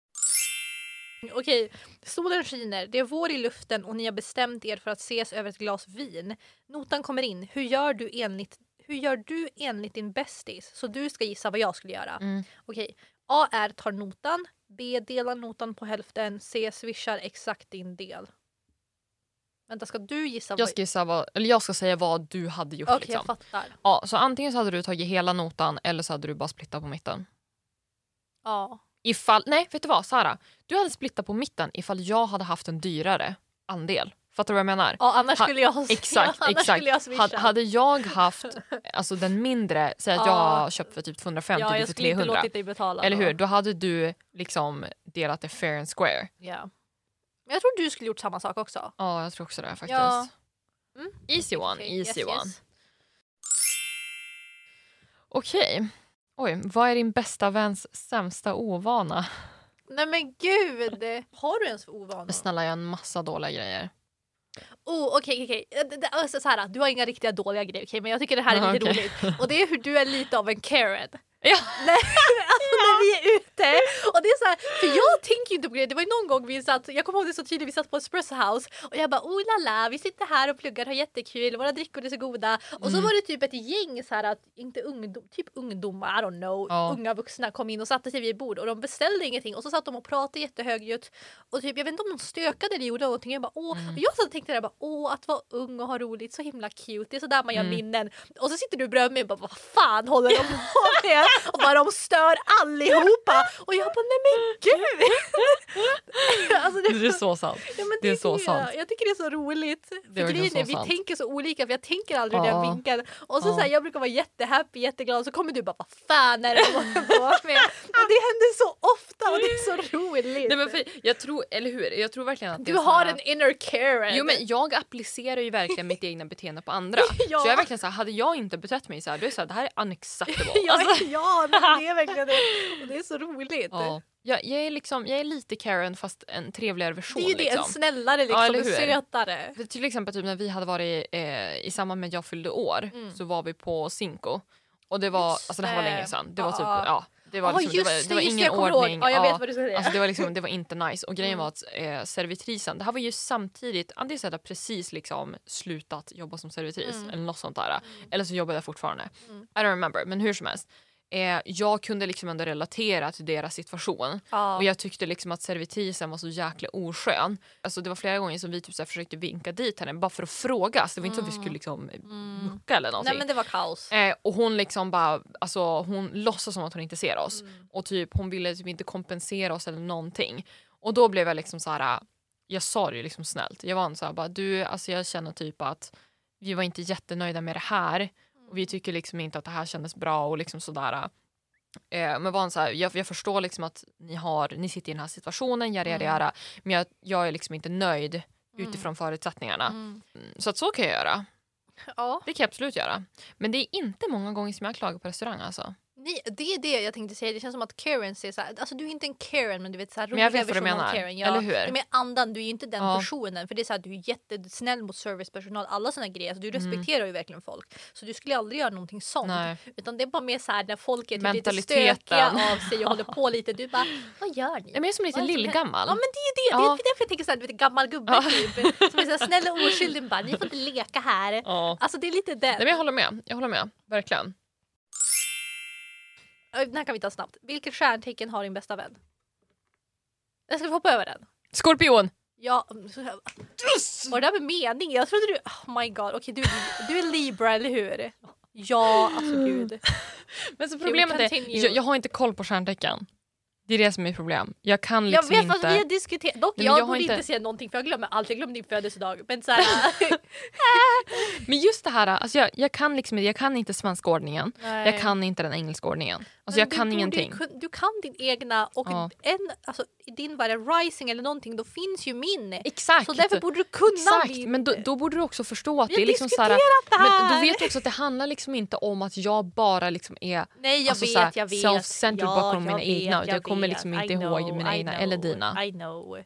[SPEAKER 2] Okej, solen skiner, det är vår i luften och ni har bestämt er för att ses över ett glas vin. Notan kommer in, hur gör du enligt, hur gör du enligt din bästis? Så du ska gissa vad jag skulle göra.
[SPEAKER 1] Mm.
[SPEAKER 2] Okej, A är tar notan, B delar notan på hälften, C swishar exakt din del. Vänta, ska du gissa?
[SPEAKER 1] Jag ska, gissa vad, eller jag ska säga vad du hade gjort.
[SPEAKER 2] Okej, jag
[SPEAKER 1] liksom.
[SPEAKER 2] fattar.
[SPEAKER 1] ja, så antingen så hade du tagit hela notan eller så hade du bara splittat på mitten.
[SPEAKER 2] Ja.
[SPEAKER 1] Ifall, nej, vet du vad Sara? Du hade splittat på mitten ifall jag hade haft en dyrare andel. Fattar du vad jag menar?
[SPEAKER 2] ja, annars
[SPEAKER 1] Ha-
[SPEAKER 2] skulle jag
[SPEAKER 1] Exakt,
[SPEAKER 2] annars
[SPEAKER 1] exakt.
[SPEAKER 2] Skulle jag
[SPEAKER 1] Hade,
[SPEAKER 2] swisha.
[SPEAKER 1] hade jag haft alltså, den mindre, säg att jag
[SPEAKER 2] Ja.
[SPEAKER 1] har köpt för typ 250
[SPEAKER 2] ja,
[SPEAKER 1] du
[SPEAKER 2] jag
[SPEAKER 1] för
[SPEAKER 2] skulle inte
[SPEAKER 1] 300.
[SPEAKER 2] låtit dig betala.
[SPEAKER 1] Eller
[SPEAKER 2] då.
[SPEAKER 1] hur? Då hade du liksom delat det fair and square.
[SPEAKER 2] Ja. Men jag tror du skulle gjort samma sak också.
[SPEAKER 1] Ja, jag tror också det faktiskt.
[SPEAKER 2] Ja. Mm.
[SPEAKER 1] Easy one,
[SPEAKER 2] Okej,
[SPEAKER 1] easy
[SPEAKER 2] yes,
[SPEAKER 1] one.
[SPEAKER 2] yes.
[SPEAKER 1] Okej. Oj, vad är din bästa väns sämsta ovana?
[SPEAKER 2] Nej men gud! Har du ens för ovana?
[SPEAKER 1] Men snälla, jag har en massa dåliga grejer.
[SPEAKER 2] Oh, okej, okej. okej. Det- det- Alltså, så här, du har inga riktiga dåliga grejer, okej, men jag tycker det här är
[SPEAKER 1] Ja,
[SPEAKER 2] lite
[SPEAKER 1] okej.
[SPEAKER 2] roligt. Och det är hur du är lite av en Karen.
[SPEAKER 1] Ja.
[SPEAKER 2] Nej, alltså när vi är ute. Och det är så här, för jag tänker ju inte på grejer. Det var ju någon gång vi satt, jag kommer ihåg det så tydligt, vi satt på Espresso House och jag bara oh la la, vi sitter här och pluggar, har jättekul, våra drickor är så goda. Och så
[SPEAKER 1] Mm.
[SPEAKER 2] var det typ ett gäng så här, att, inte ungdom, typ ungdomar, I don't know,
[SPEAKER 1] Ja.
[SPEAKER 2] unga vuxna kom in och satte sig vid bord och de beställde ingenting och så satt de och pratade jättehögljutt och typ, jag vet inte om de stökade eller gjorde någonting. Jag bara åh,
[SPEAKER 1] Mm.
[SPEAKER 2] och jag satt och tänkte där, bara, åh att vara ung och ha roligt, så himla cute, det är sådär man gör
[SPEAKER 1] Mm.
[SPEAKER 2] minnen. Och så sitter du bredvid mig och bara vad fan håller de på med? Och bara de stör allihopa! Och jag bara nej men gud! alltså, det,
[SPEAKER 1] Det är så sant.
[SPEAKER 2] ja, men
[SPEAKER 1] det är så sant.
[SPEAKER 2] Jag tycker det är så roligt. För
[SPEAKER 1] verkligen
[SPEAKER 2] grejen är,
[SPEAKER 1] så
[SPEAKER 2] vi
[SPEAKER 1] sant.
[SPEAKER 2] tänker så olika för jag tänker aldrig i
[SPEAKER 1] Ja.
[SPEAKER 2] den vinkeln. Och så,
[SPEAKER 1] Ja.
[SPEAKER 2] så här, jag brukar vara jättehappy, jätteglad så kommer du bara vad fan är det de håller på med? Och det händer så ofta och det är så roligt.
[SPEAKER 1] Nej, men för, jag tror, eller hur? Jag tror verkligen att det
[SPEAKER 2] du
[SPEAKER 1] är så
[SPEAKER 2] har
[SPEAKER 1] här-
[SPEAKER 2] en inner Karen.
[SPEAKER 1] Jo, men jag applicerar ju verkligen mitt egna beteende på andra.
[SPEAKER 2] Ja.
[SPEAKER 1] Så jag är verkligen så här, hade jag inte betett mig så här, då är det så här, det här är unacceptable.
[SPEAKER 2] Ja,
[SPEAKER 1] Alltså,
[SPEAKER 2] ja, men det är verkligen det. Och det är så roligt.
[SPEAKER 1] ja. jag, jag, är liksom, jag är lite Karen fast en trevligare version.
[SPEAKER 2] Det är ju det,
[SPEAKER 1] liksom.
[SPEAKER 2] en snällare liksom,
[SPEAKER 1] eller
[SPEAKER 2] en
[SPEAKER 1] hur?
[SPEAKER 2] sötare.
[SPEAKER 1] För till exempel typ när vi hade varit eh, i samband med att jag fyllde år
[SPEAKER 2] Mm.
[SPEAKER 1] så var vi på Cinco. Och det var,
[SPEAKER 2] Just
[SPEAKER 1] alltså det här var
[SPEAKER 2] det.
[SPEAKER 1] länge sedan. Det var
[SPEAKER 2] Ja,
[SPEAKER 1] typ,
[SPEAKER 2] ja.
[SPEAKER 1] ja. Det var,
[SPEAKER 2] Ja,
[SPEAKER 1] liksom, det var,
[SPEAKER 2] Ah, just
[SPEAKER 1] det var
[SPEAKER 2] just
[SPEAKER 1] ingen
[SPEAKER 2] jag kommer ihåg.
[SPEAKER 1] ordning.
[SPEAKER 2] Ja, jag
[SPEAKER 1] ja.
[SPEAKER 2] vet vad du ska säga.
[SPEAKER 1] Alltså det var, liksom, det var inte nice. Och grejen
[SPEAKER 2] Mm.
[SPEAKER 1] var att eh, servitrisen, det här var ju samtidigt, antingen så hade jag precis liksom slutat jobba som servitris
[SPEAKER 2] Mm.
[SPEAKER 1] eller något sånt där. Eller så jobbade jag fortfarande.
[SPEAKER 2] Mm.
[SPEAKER 1] I don't remember, men hur som helst. Eh, jag kunde liksom ändå relatera till deras situation.
[SPEAKER 2] Ja.
[SPEAKER 1] Och jag tyckte liksom att servitrisen var så jäkla oskön. Alltså det var flera gånger som vi typ så här försökte vinka dit henne bara för att fråga. Alltså det var inte så att vi
[SPEAKER 2] Mm.
[SPEAKER 1] skulle liksom
[SPEAKER 2] Mm.
[SPEAKER 1] mucka eller någonting.
[SPEAKER 2] Nej men det var kaos.
[SPEAKER 1] Eh, och hon liksom bara, alltså hon låtsas som att hon inte ser oss.
[SPEAKER 2] Mm.
[SPEAKER 1] Och typ hon ville typ inte kompensera oss eller någonting. Och då blev jag liksom så här. jag sa det ju liksom snällt. Jag var en så här bara, du alltså jag känner typ att vi var inte jättenöjda med det här. Och
[SPEAKER 2] Mm.
[SPEAKER 1] vi tycker liksom inte att det här kändes bra och liksom sådär. Eh, men var en så här, jag, jag förstår liksom att ni, har, ni sitter i den här situationen, yara, yara,
[SPEAKER 2] Mm.
[SPEAKER 1] yara, men jag, jag är liksom inte nöjd
[SPEAKER 2] Mm.
[SPEAKER 1] utifrån förutsättningarna.
[SPEAKER 2] Mm.
[SPEAKER 1] Så att så kan jag göra.
[SPEAKER 2] Ja.
[SPEAKER 1] Det kan jag absolut göra. Men det är inte många gånger som jag klagar på restaurang. Alltså.
[SPEAKER 2] Nej, det är det jag tänkte säga. Det känns som att Karen ser så här, alltså du är inte en Karen men du vet så här
[SPEAKER 1] Men jag
[SPEAKER 2] roliga
[SPEAKER 1] vet vad du
[SPEAKER 2] versionen av
[SPEAKER 1] menar,
[SPEAKER 2] Karen. Ja.
[SPEAKER 1] eller hur?
[SPEAKER 2] Ja, Men andan, du är ju inte den
[SPEAKER 1] Ja.
[SPEAKER 2] personen för det är så här, du är jättesnäll mot servicepersonal, alla såna grejer. Alltså, du respekterar ju verkligen folk. Så du skulle aldrig göra någonting sånt.
[SPEAKER 1] Mm. Nej.
[SPEAKER 2] Utan det är bara mer så här när folk är typ lite
[SPEAKER 1] Mentaliteten.
[SPEAKER 2] stökiga av sig och håller på lite. Du bara, vad gör ni?
[SPEAKER 1] Ja, men jag är som lite
[SPEAKER 2] Vad är det som
[SPEAKER 1] lillgammal.
[SPEAKER 2] Ja men det är ju det, det
[SPEAKER 1] Ja.
[SPEAKER 2] är därför jag tänker såhär, du vet gammal gubbe
[SPEAKER 1] Ja.
[SPEAKER 2] typ. Som är så här, snäll och oskyldig bara, ni får inte leka här.
[SPEAKER 1] Ja.
[SPEAKER 2] Alltså det är lite den.
[SPEAKER 1] Nej, men jag håller med. Jag håller med. Verkligen.
[SPEAKER 2] Ö, Den här kan vi ta snabbt. Vilket stjärntecken har din bästa vän? Jag ska hoppa över den.
[SPEAKER 1] Skorpion!
[SPEAKER 2] Ja, mm, så här- var det där med mening? Jag trodde du... Oh my god. Okej, du, är- du är Libra, eller hur? Ja, alltså gud.
[SPEAKER 1] Men så
[SPEAKER 2] we
[SPEAKER 1] problemet är,
[SPEAKER 2] continue.
[SPEAKER 1] jag, jag har inte koll på stjärntecken. Det är det som är problem. Jag kan
[SPEAKER 2] Jag
[SPEAKER 1] liksom
[SPEAKER 2] vet alltså, fast
[SPEAKER 1] inte...
[SPEAKER 2] vi har diskuterat, dock
[SPEAKER 1] Nej, men
[SPEAKER 2] jag,
[SPEAKER 1] jag har
[SPEAKER 2] borde inte
[SPEAKER 1] inte-
[SPEAKER 2] säga någonting för jag glömmer allt, jag glömmer din födelsedag. Men så här,
[SPEAKER 1] Men just det här, alltså jag, jag, kan liksom, jag kan inte svenska ordningen.
[SPEAKER 2] Nej.
[SPEAKER 1] Jag kan inte den engelska ordningen. Alltså
[SPEAKER 2] Men
[SPEAKER 1] jag
[SPEAKER 2] du
[SPEAKER 1] kan
[SPEAKER 2] borde ju
[SPEAKER 1] ingenting.
[SPEAKER 2] kun- Du kan din egna och
[SPEAKER 1] Ja.
[SPEAKER 2] en, alltså, i din var det rising eller någonting, då finns ju min.
[SPEAKER 1] Exakt!
[SPEAKER 2] Så därför borde du kunna
[SPEAKER 1] Exakt,
[SPEAKER 2] min.
[SPEAKER 1] men då, då borde du också förstå att
[SPEAKER 2] Vi
[SPEAKER 1] det är
[SPEAKER 2] har
[SPEAKER 1] liksom så här,
[SPEAKER 2] det här.
[SPEAKER 1] Men då vet du också att det handlar liksom inte om att jag bara liksom är
[SPEAKER 2] Nej jag
[SPEAKER 1] alltså,
[SPEAKER 2] vet,
[SPEAKER 1] så här,
[SPEAKER 2] jag vet.
[SPEAKER 1] self-centered
[SPEAKER 2] ja,
[SPEAKER 1] bakom mina
[SPEAKER 2] jag vet,
[SPEAKER 1] egna, utan jag kommer
[SPEAKER 2] vet.
[SPEAKER 1] liksom inte
[SPEAKER 2] I
[SPEAKER 1] ihåg
[SPEAKER 2] know,
[SPEAKER 1] mina
[SPEAKER 2] I
[SPEAKER 1] egna eller
[SPEAKER 2] know,
[SPEAKER 1] dina.
[SPEAKER 2] I know.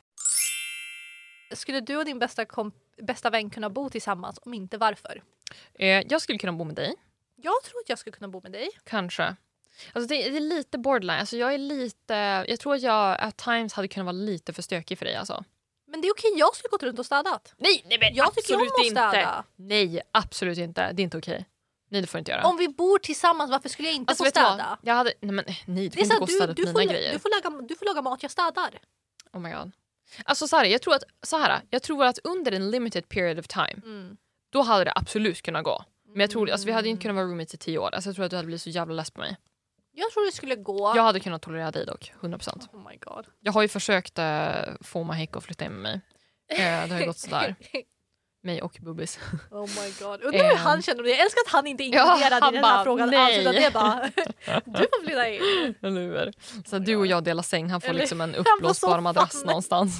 [SPEAKER 2] Skulle du och din bästa, komp- bästa vän kunna bo tillsammans? Om inte, varför?
[SPEAKER 1] Eh, jag skulle kunna bo med dig,
[SPEAKER 2] Jag tror att jag skulle kunna bo med dig.
[SPEAKER 1] kanske. Alltså det, det är lite borderline. Alltså jag, är lite, jag tror att jag at times hade kunnat vara lite för stökig för dig. Alltså.
[SPEAKER 2] Men det är okej, jag skulle gått runt och städat.
[SPEAKER 1] Nej, nej men
[SPEAKER 2] Jag tycker
[SPEAKER 1] absolut
[SPEAKER 2] om att
[SPEAKER 1] inte!
[SPEAKER 2] städa.
[SPEAKER 1] Nej, absolut inte. Det är inte okej. Nej, det får du inte göra.
[SPEAKER 2] Om vi bor tillsammans, varför skulle jag inte
[SPEAKER 1] alltså,
[SPEAKER 2] få
[SPEAKER 1] vet du vad?
[SPEAKER 2] städa?
[SPEAKER 1] Jag hade, nej, men, nej, du
[SPEAKER 2] Det
[SPEAKER 1] får
[SPEAKER 2] är så
[SPEAKER 1] inte
[SPEAKER 2] här,
[SPEAKER 1] gå och
[SPEAKER 2] du,
[SPEAKER 1] städa upp
[SPEAKER 2] du,
[SPEAKER 1] mina
[SPEAKER 2] får,
[SPEAKER 1] grejer.
[SPEAKER 2] la- du, får laga, du får laga mat, jag städar.
[SPEAKER 1] Oh my god. Alltså så här, jag tror att, så här, jag tror att under en limited period of time,
[SPEAKER 2] Mm.
[SPEAKER 1] då hade det absolut kunnat gå. Men jag tror, alltså, vi hade inte kunnat vara roommates i tio år. Alltså, jag tror att du hade blivit så jävla less på mig.
[SPEAKER 2] Jag tror det skulle gå.
[SPEAKER 1] Jag hade kunnat tolerera dig dock, 100%.
[SPEAKER 2] Oh my god.
[SPEAKER 1] Jag har ju försökt eh, få Maheko att flytta in med mig. Eh, det har ju gått sådär. Mig och Bubbis.
[SPEAKER 2] Oh my god. Undrar hur
[SPEAKER 1] Ehm.
[SPEAKER 2] han känner om det. Jag älskar att han inte är inkluderad
[SPEAKER 1] han
[SPEAKER 2] i den
[SPEAKER 1] bara,
[SPEAKER 2] här frågan alls.
[SPEAKER 1] nej.
[SPEAKER 2] Utan det är bara, du får flytta in.
[SPEAKER 1] Eller hur? Så att du och jag delar säng, han får
[SPEAKER 2] Eller-
[SPEAKER 1] liksom en
[SPEAKER 2] får
[SPEAKER 1] uppblåsbar
[SPEAKER 2] soffan.
[SPEAKER 1] madrass någonstans.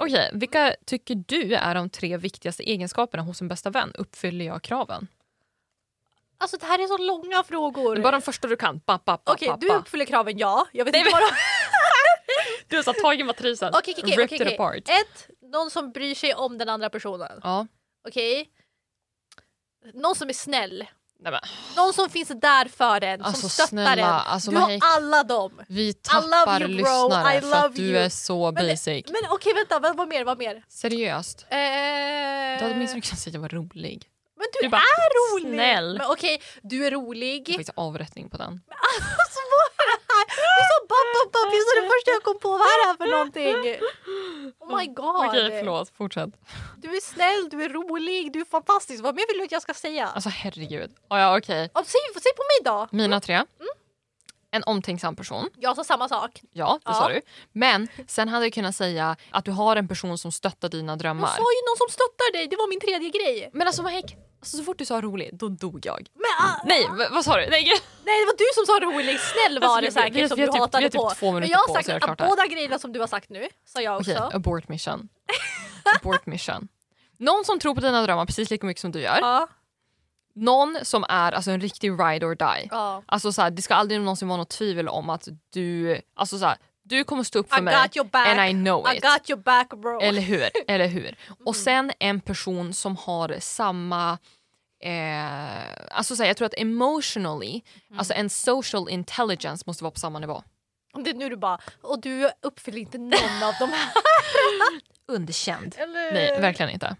[SPEAKER 1] Okej, vilka tycker du är de tre viktigaste egenskaperna hos en bästa vän? Uppfyller jag kraven?
[SPEAKER 2] Alltså det här är så långa frågor.
[SPEAKER 1] Bara de första du kan. Ba, ba, ba,
[SPEAKER 2] Okej,
[SPEAKER 1] ba,
[SPEAKER 2] du
[SPEAKER 1] ba.
[SPEAKER 2] uppfyller kraven ja. Jag vet
[SPEAKER 1] Nej,
[SPEAKER 2] inte vad de-
[SPEAKER 1] Du har så här tagit matrisen,
[SPEAKER 2] Okej, okej,
[SPEAKER 1] ripped
[SPEAKER 2] okej, okej, Eh.
[SPEAKER 1] it apart.
[SPEAKER 2] okej. Ett, någon som bryr sig om den andra personen.
[SPEAKER 1] Ja,
[SPEAKER 2] Okej? Någon som är snäll.
[SPEAKER 1] nej men
[SPEAKER 2] Någon som finns där för en.
[SPEAKER 1] alltså
[SPEAKER 2] som stöttar
[SPEAKER 1] snälla.
[SPEAKER 2] en.
[SPEAKER 1] Alltså,
[SPEAKER 2] Du har
[SPEAKER 1] Maheko,
[SPEAKER 2] alla dem.
[SPEAKER 1] vi
[SPEAKER 2] love
[SPEAKER 1] tappar
[SPEAKER 2] you, bro.
[SPEAKER 1] lyssnare
[SPEAKER 2] I
[SPEAKER 1] för att
[SPEAKER 2] love
[SPEAKER 1] du
[SPEAKER 2] you.
[SPEAKER 1] är så
[SPEAKER 2] Men det-
[SPEAKER 1] basic.
[SPEAKER 2] Men okej vänta, vad, vad mer? Vad mer?
[SPEAKER 1] Seriöst,
[SPEAKER 2] Eh,
[SPEAKER 1] du hade minst kunnat säga att jag var rolig.
[SPEAKER 2] Men du,
[SPEAKER 1] Du bara,
[SPEAKER 2] är rolig!
[SPEAKER 1] snäll.
[SPEAKER 2] Men okej, du är
[SPEAKER 1] Det är
[SPEAKER 2] rolig.
[SPEAKER 1] faktiskt avrättning på den.
[SPEAKER 2] Alltså vad är det här? Du sa bapp, bapp, bapp. Det är det första jag kom på. Vad är det här för någonting? Oh my god.
[SPEAKER 1] Okej, förlåt. Fortsätt.
[SPEAKER 2] Du är snäll, du är rolig, du är fantastisk. Vad mer vill du att jag ska säga?
[SPEAKER 1] Alltså herregud. Oh, ja, okej.
[SPEAKER 2] Ja, säg, säg på mig då.
[SPEAKER 1] Mina tre.
[SPEAKER 2] Mm.
[SPEAKER 1] En omtänksam person.
[SPEAKER 2] Jag sa samma sak.
[SPEAKER 1] Ja, det
[SPEAKER 2] Ja.
[SPEAKER 1] sa du. Men sen hade jag kunnat säga att du har en person som stöttar dina
[SPEAKER 2] Jag
[SPEAKER 1] drömmar.
[SPEAKER 2] sa ju någon som stöttar dig. Det var min tredje grej.
[SPEAKER 1] Men alltså Mahek, alltså, så fort du sa rolig, då dog jag.
[SPEAKER 2] Men, ah,
[SPEAKER 1] Nej, v- vad sa du? Nej, gud.
[SPEAKER 2] nej, det var du som sa rolig. Snäll var
[SPEAKER 1] Alltså,
[SPEAKER 2] det
[SPEAKER 1] vi-
[SPEAKER 2] säkert
[SPEAKER 1] vi-
[SPEAKER 2] som
[SPEAKER 1] vi har
[SPEAKER 2] du
[SPEAKER 1] typ-
[SPEAKER 2] hatade
[SPEAKER 1] vi har typ
[SPEAKER 2] på.
[SPEAKER 1] två
[SPEAKER 2] Men
[SPEAKER 1] minuter
[SPEAKER 2] jag
[SPEAKER 1] på oss,
[SPEAKER 2] har sagt
[SPEAKER 1] jag är
[SPEAKER 2] att
[SPEAKER 1] klart här.
[SPEAKER 2] båda grejerna som du har sagt nu sa jag också.
[SPEAKER 1] Okej, abort mission. abort mission. Någon som tror på dina drömmar precis lika mycket som du gör.
[SPEAKER 2] Ja.
[SPEAKER 1] Någon som är alltså, en riktig ride or die.
[SPEAKER 2] ja.
[SPEAKER 1] Alltså, så här, det ska aldrig någonsin vara något tvivel om att du, alltså, så här, du kommer stå upp för
[SPEAKER 2] I
[SPEAKER 1] mig
[SPEAKER 2] got your back.
[SPEAKER 1] and I know
[SPEAKER 2] I
[SPEAKER 1] it.
[SPEAKER 2] got Mm. your back bro.
[SPEAKER 1] Eller hur? Eller hur? Och sen en person som har samma... Eh, alltså så här, jag tror att emotionally,
[SPEAKER 2] Mm.
[SPEAKER 1] alltså en social intelligence måste vara på samma nivå.
[SPEAKER 2] Det är nu du bara, och du uppfyller inte någon av de här.
[SPEAKER 1] Underkänd.
[SPEAKER 2] Eller?
[SPEAKER 1] Nej, verkligen inte.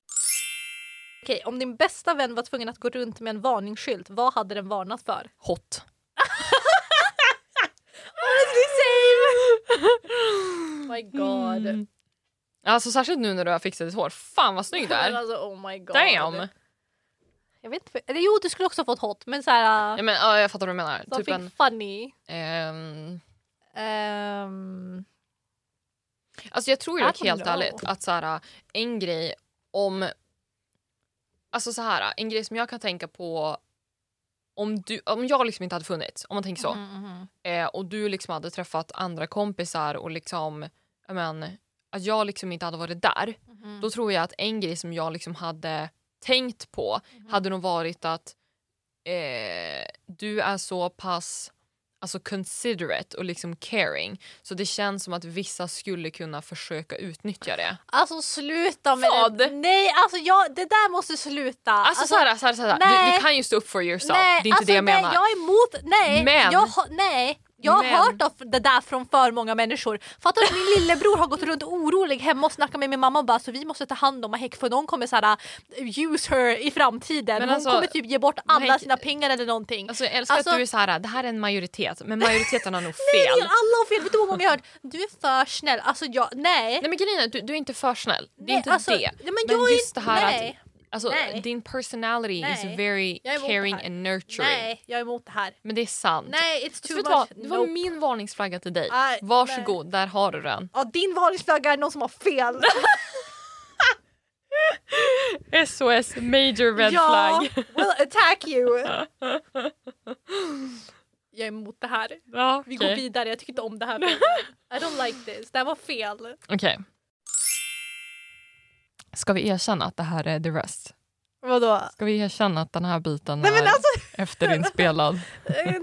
[SPEAKER 2] Okej, om din bästa vän var tvungen att gå runt med en varningsskylt, vad hade den varnat för?
[SPEAKER 1] Hot.
[SPEAKER 2] Honestly same! Oh my god.
[SPEAKER 1] Mm. Alltså särskilt nu när du har fixat ditt hår. Fan vad snygg du
[SPEAKER 2] Men
[SPEAKER 1] är.
[SPEAKER 2] Alltså, oh my god.
[SPEAKER 1] Damn!
[SPEAKER 2] Jag vet inte, eller jo du skulle också ha fått hot men såhär,
[SPEAKER 1] Ja, men, ja, jag fattar vad du menar.
[SPEAKER 2] something
[SPEAKER 1] Typ en...
[SPEAKER 2] funny.
[SPEAKER 1] ehm,
[SPEAKER 2] Ehm,
[SPEAKER 1] Alltså jag tror
[SPEAKER 2] I
[SPEAKER 1] ju dock
[SPEAKER 2] don't
[SPEAKER 1] helt
[SPEAKER 2] know.
[SPEAKER 1] ärligt att så här, en grej om... Alltså så här, en grej som jag kan tänka på om, du, om jag liksom inte hade funnits, om man tänker så,
[SPEAKER 2] mm, mm, mm.
[SPEAKER 1] eh, och du liksom hade träffat andra kompisar och liksom, ja, men, att jag liksom inte hade varit där,
[SPEAKER 2] Mhm.
[SPEAKER 1] då tror jag att en grej som jag liksom hade tänkt på
[SPEAKER 2] Mhm.
[SPEAKER 1] hade nog varit att eh, du är så pass alltså considerate och liksom caring så det känns som att vissa skulle kunna försöka utnyttja det.
[SPEAKER 2] Alltså sluta med
[SPEAKER 1] Vad?
[SPEAKER 2] det. Nej, alltså jag, det där måste sluta.
[SPEAKER 1] Alltså, så här, så här, så här. Du,
[SPEAKER 2] nej.
[SPEAKER 1] du kan ju stå upp for yourself,
[SPEAKER 2] nej,
[SPEAKER 1] det är inte
[SPEAKER 2] alltså,
[SPEAKER 1] det jag
[SPEAKER 2] nej,
[SPEAKER 1] menar.
[SPEAKER 2] Jag är emot, nej.
[SPEAKER 1] Men-
[SPEAKER 2] jag, har- nej. Jag har
[SPEAKER 1] Men-
[SPEAKER 2] hört av det där från för många människor. Fattar du att min lillebror har gått runt orolig hemma och snackat med min mamma och bara så vi måste ta hand om Mahek för någon kommer så här, äh, use her i framtiden.
[SPEAKER 1] Men
[SPEAKER 2] Hon
[SPEAKER 1] alltså,
[SPEAKER 2] kommer typ ge bort alla
[SPEAKER 1] Mahek-
[SPEAKER 2] sina pengar eller någonting.
[SPEAKER 1] Alltså, jag älskar
[SPEAKER 2] Alltså-
[SPEAKER 1] att du är så här, det här är en majoritet men majoriteten har nog
[SPEAKER 2] Nej,
[SPEAKER 1] fel.
[SPEAKER 2] alla har fel! Vet du hur många jag har hört? Du är för snäll. Alltså jag, nej.
[SPEAKER 1] Nej men grejen är, att du, du är inte för snäll. Det är inte
[SPEAKER 2] alltså,
[SPEAKER 1] det.
[SPEAKER 2] Nej, men
[SPEAKER 1] Men
[SPEAKER 2] jag är
[SPEAKER 1] just det här
[SPEAKER 2] nej.
[SPEAKER 1] att alltså,
[SPEAKER 2] Nej.
[SPEAKER 1] din personality
[SPEAKER 2] Nej.
[SPEAKER 1] is very
[SPEAKER 2] Jag är emot det
[SPEAKER 1] caring
[SPEAKER 2] här.
[SPEAKER 1] and nurturing.
[SPEAKER 2] Nej, jag är emot det här.
[SPEAKER 1] Men det är sant.
[SPEAKER 2] Nej, it's
[SPEAKER 1] Så
[SPEAKER 2] too
[SPEAKER 1] Alltså, vet
[SPEAKER 2] much.
[SPEAKER 1] du vad? Det var
[SPEAKER 2] Nope.
[SPEAKER 1] min varningsflagga till dig.
[SPEAKER 2] Nej,
[SPEAKER 1] Varsågod, där har du den.
[SPEAKER 2] Ja, din varningsflagga är någon som har fel.
[SPEAKER 1] SOS major red
[SPEAKER 2] ja,
[SPEAKER 1] flag.
[SPEAKER 2] will attack you. Jag är emot det här.
[SPEAKER 1] Ja,
[SPEAKER 2] Vi går
[SPEAKER 1] okej.
[SPEAKER 2] vidare, jag tycker inte om det här. I don't like this, det här var fel.
[SPEAKER 1] Okej. Ska vi erkänna att det här är the rest?
[SPEAKER 2] Vadå?
[SPEAKER 1] Ska vi erkänna att den här biten
[SPEAKER 2] Nej men
[SPEAKER 1] är
[SPEAKER 2] alltså,
[SPEAKER 1] eftérinspelad?
[SPEAKER 2] eh,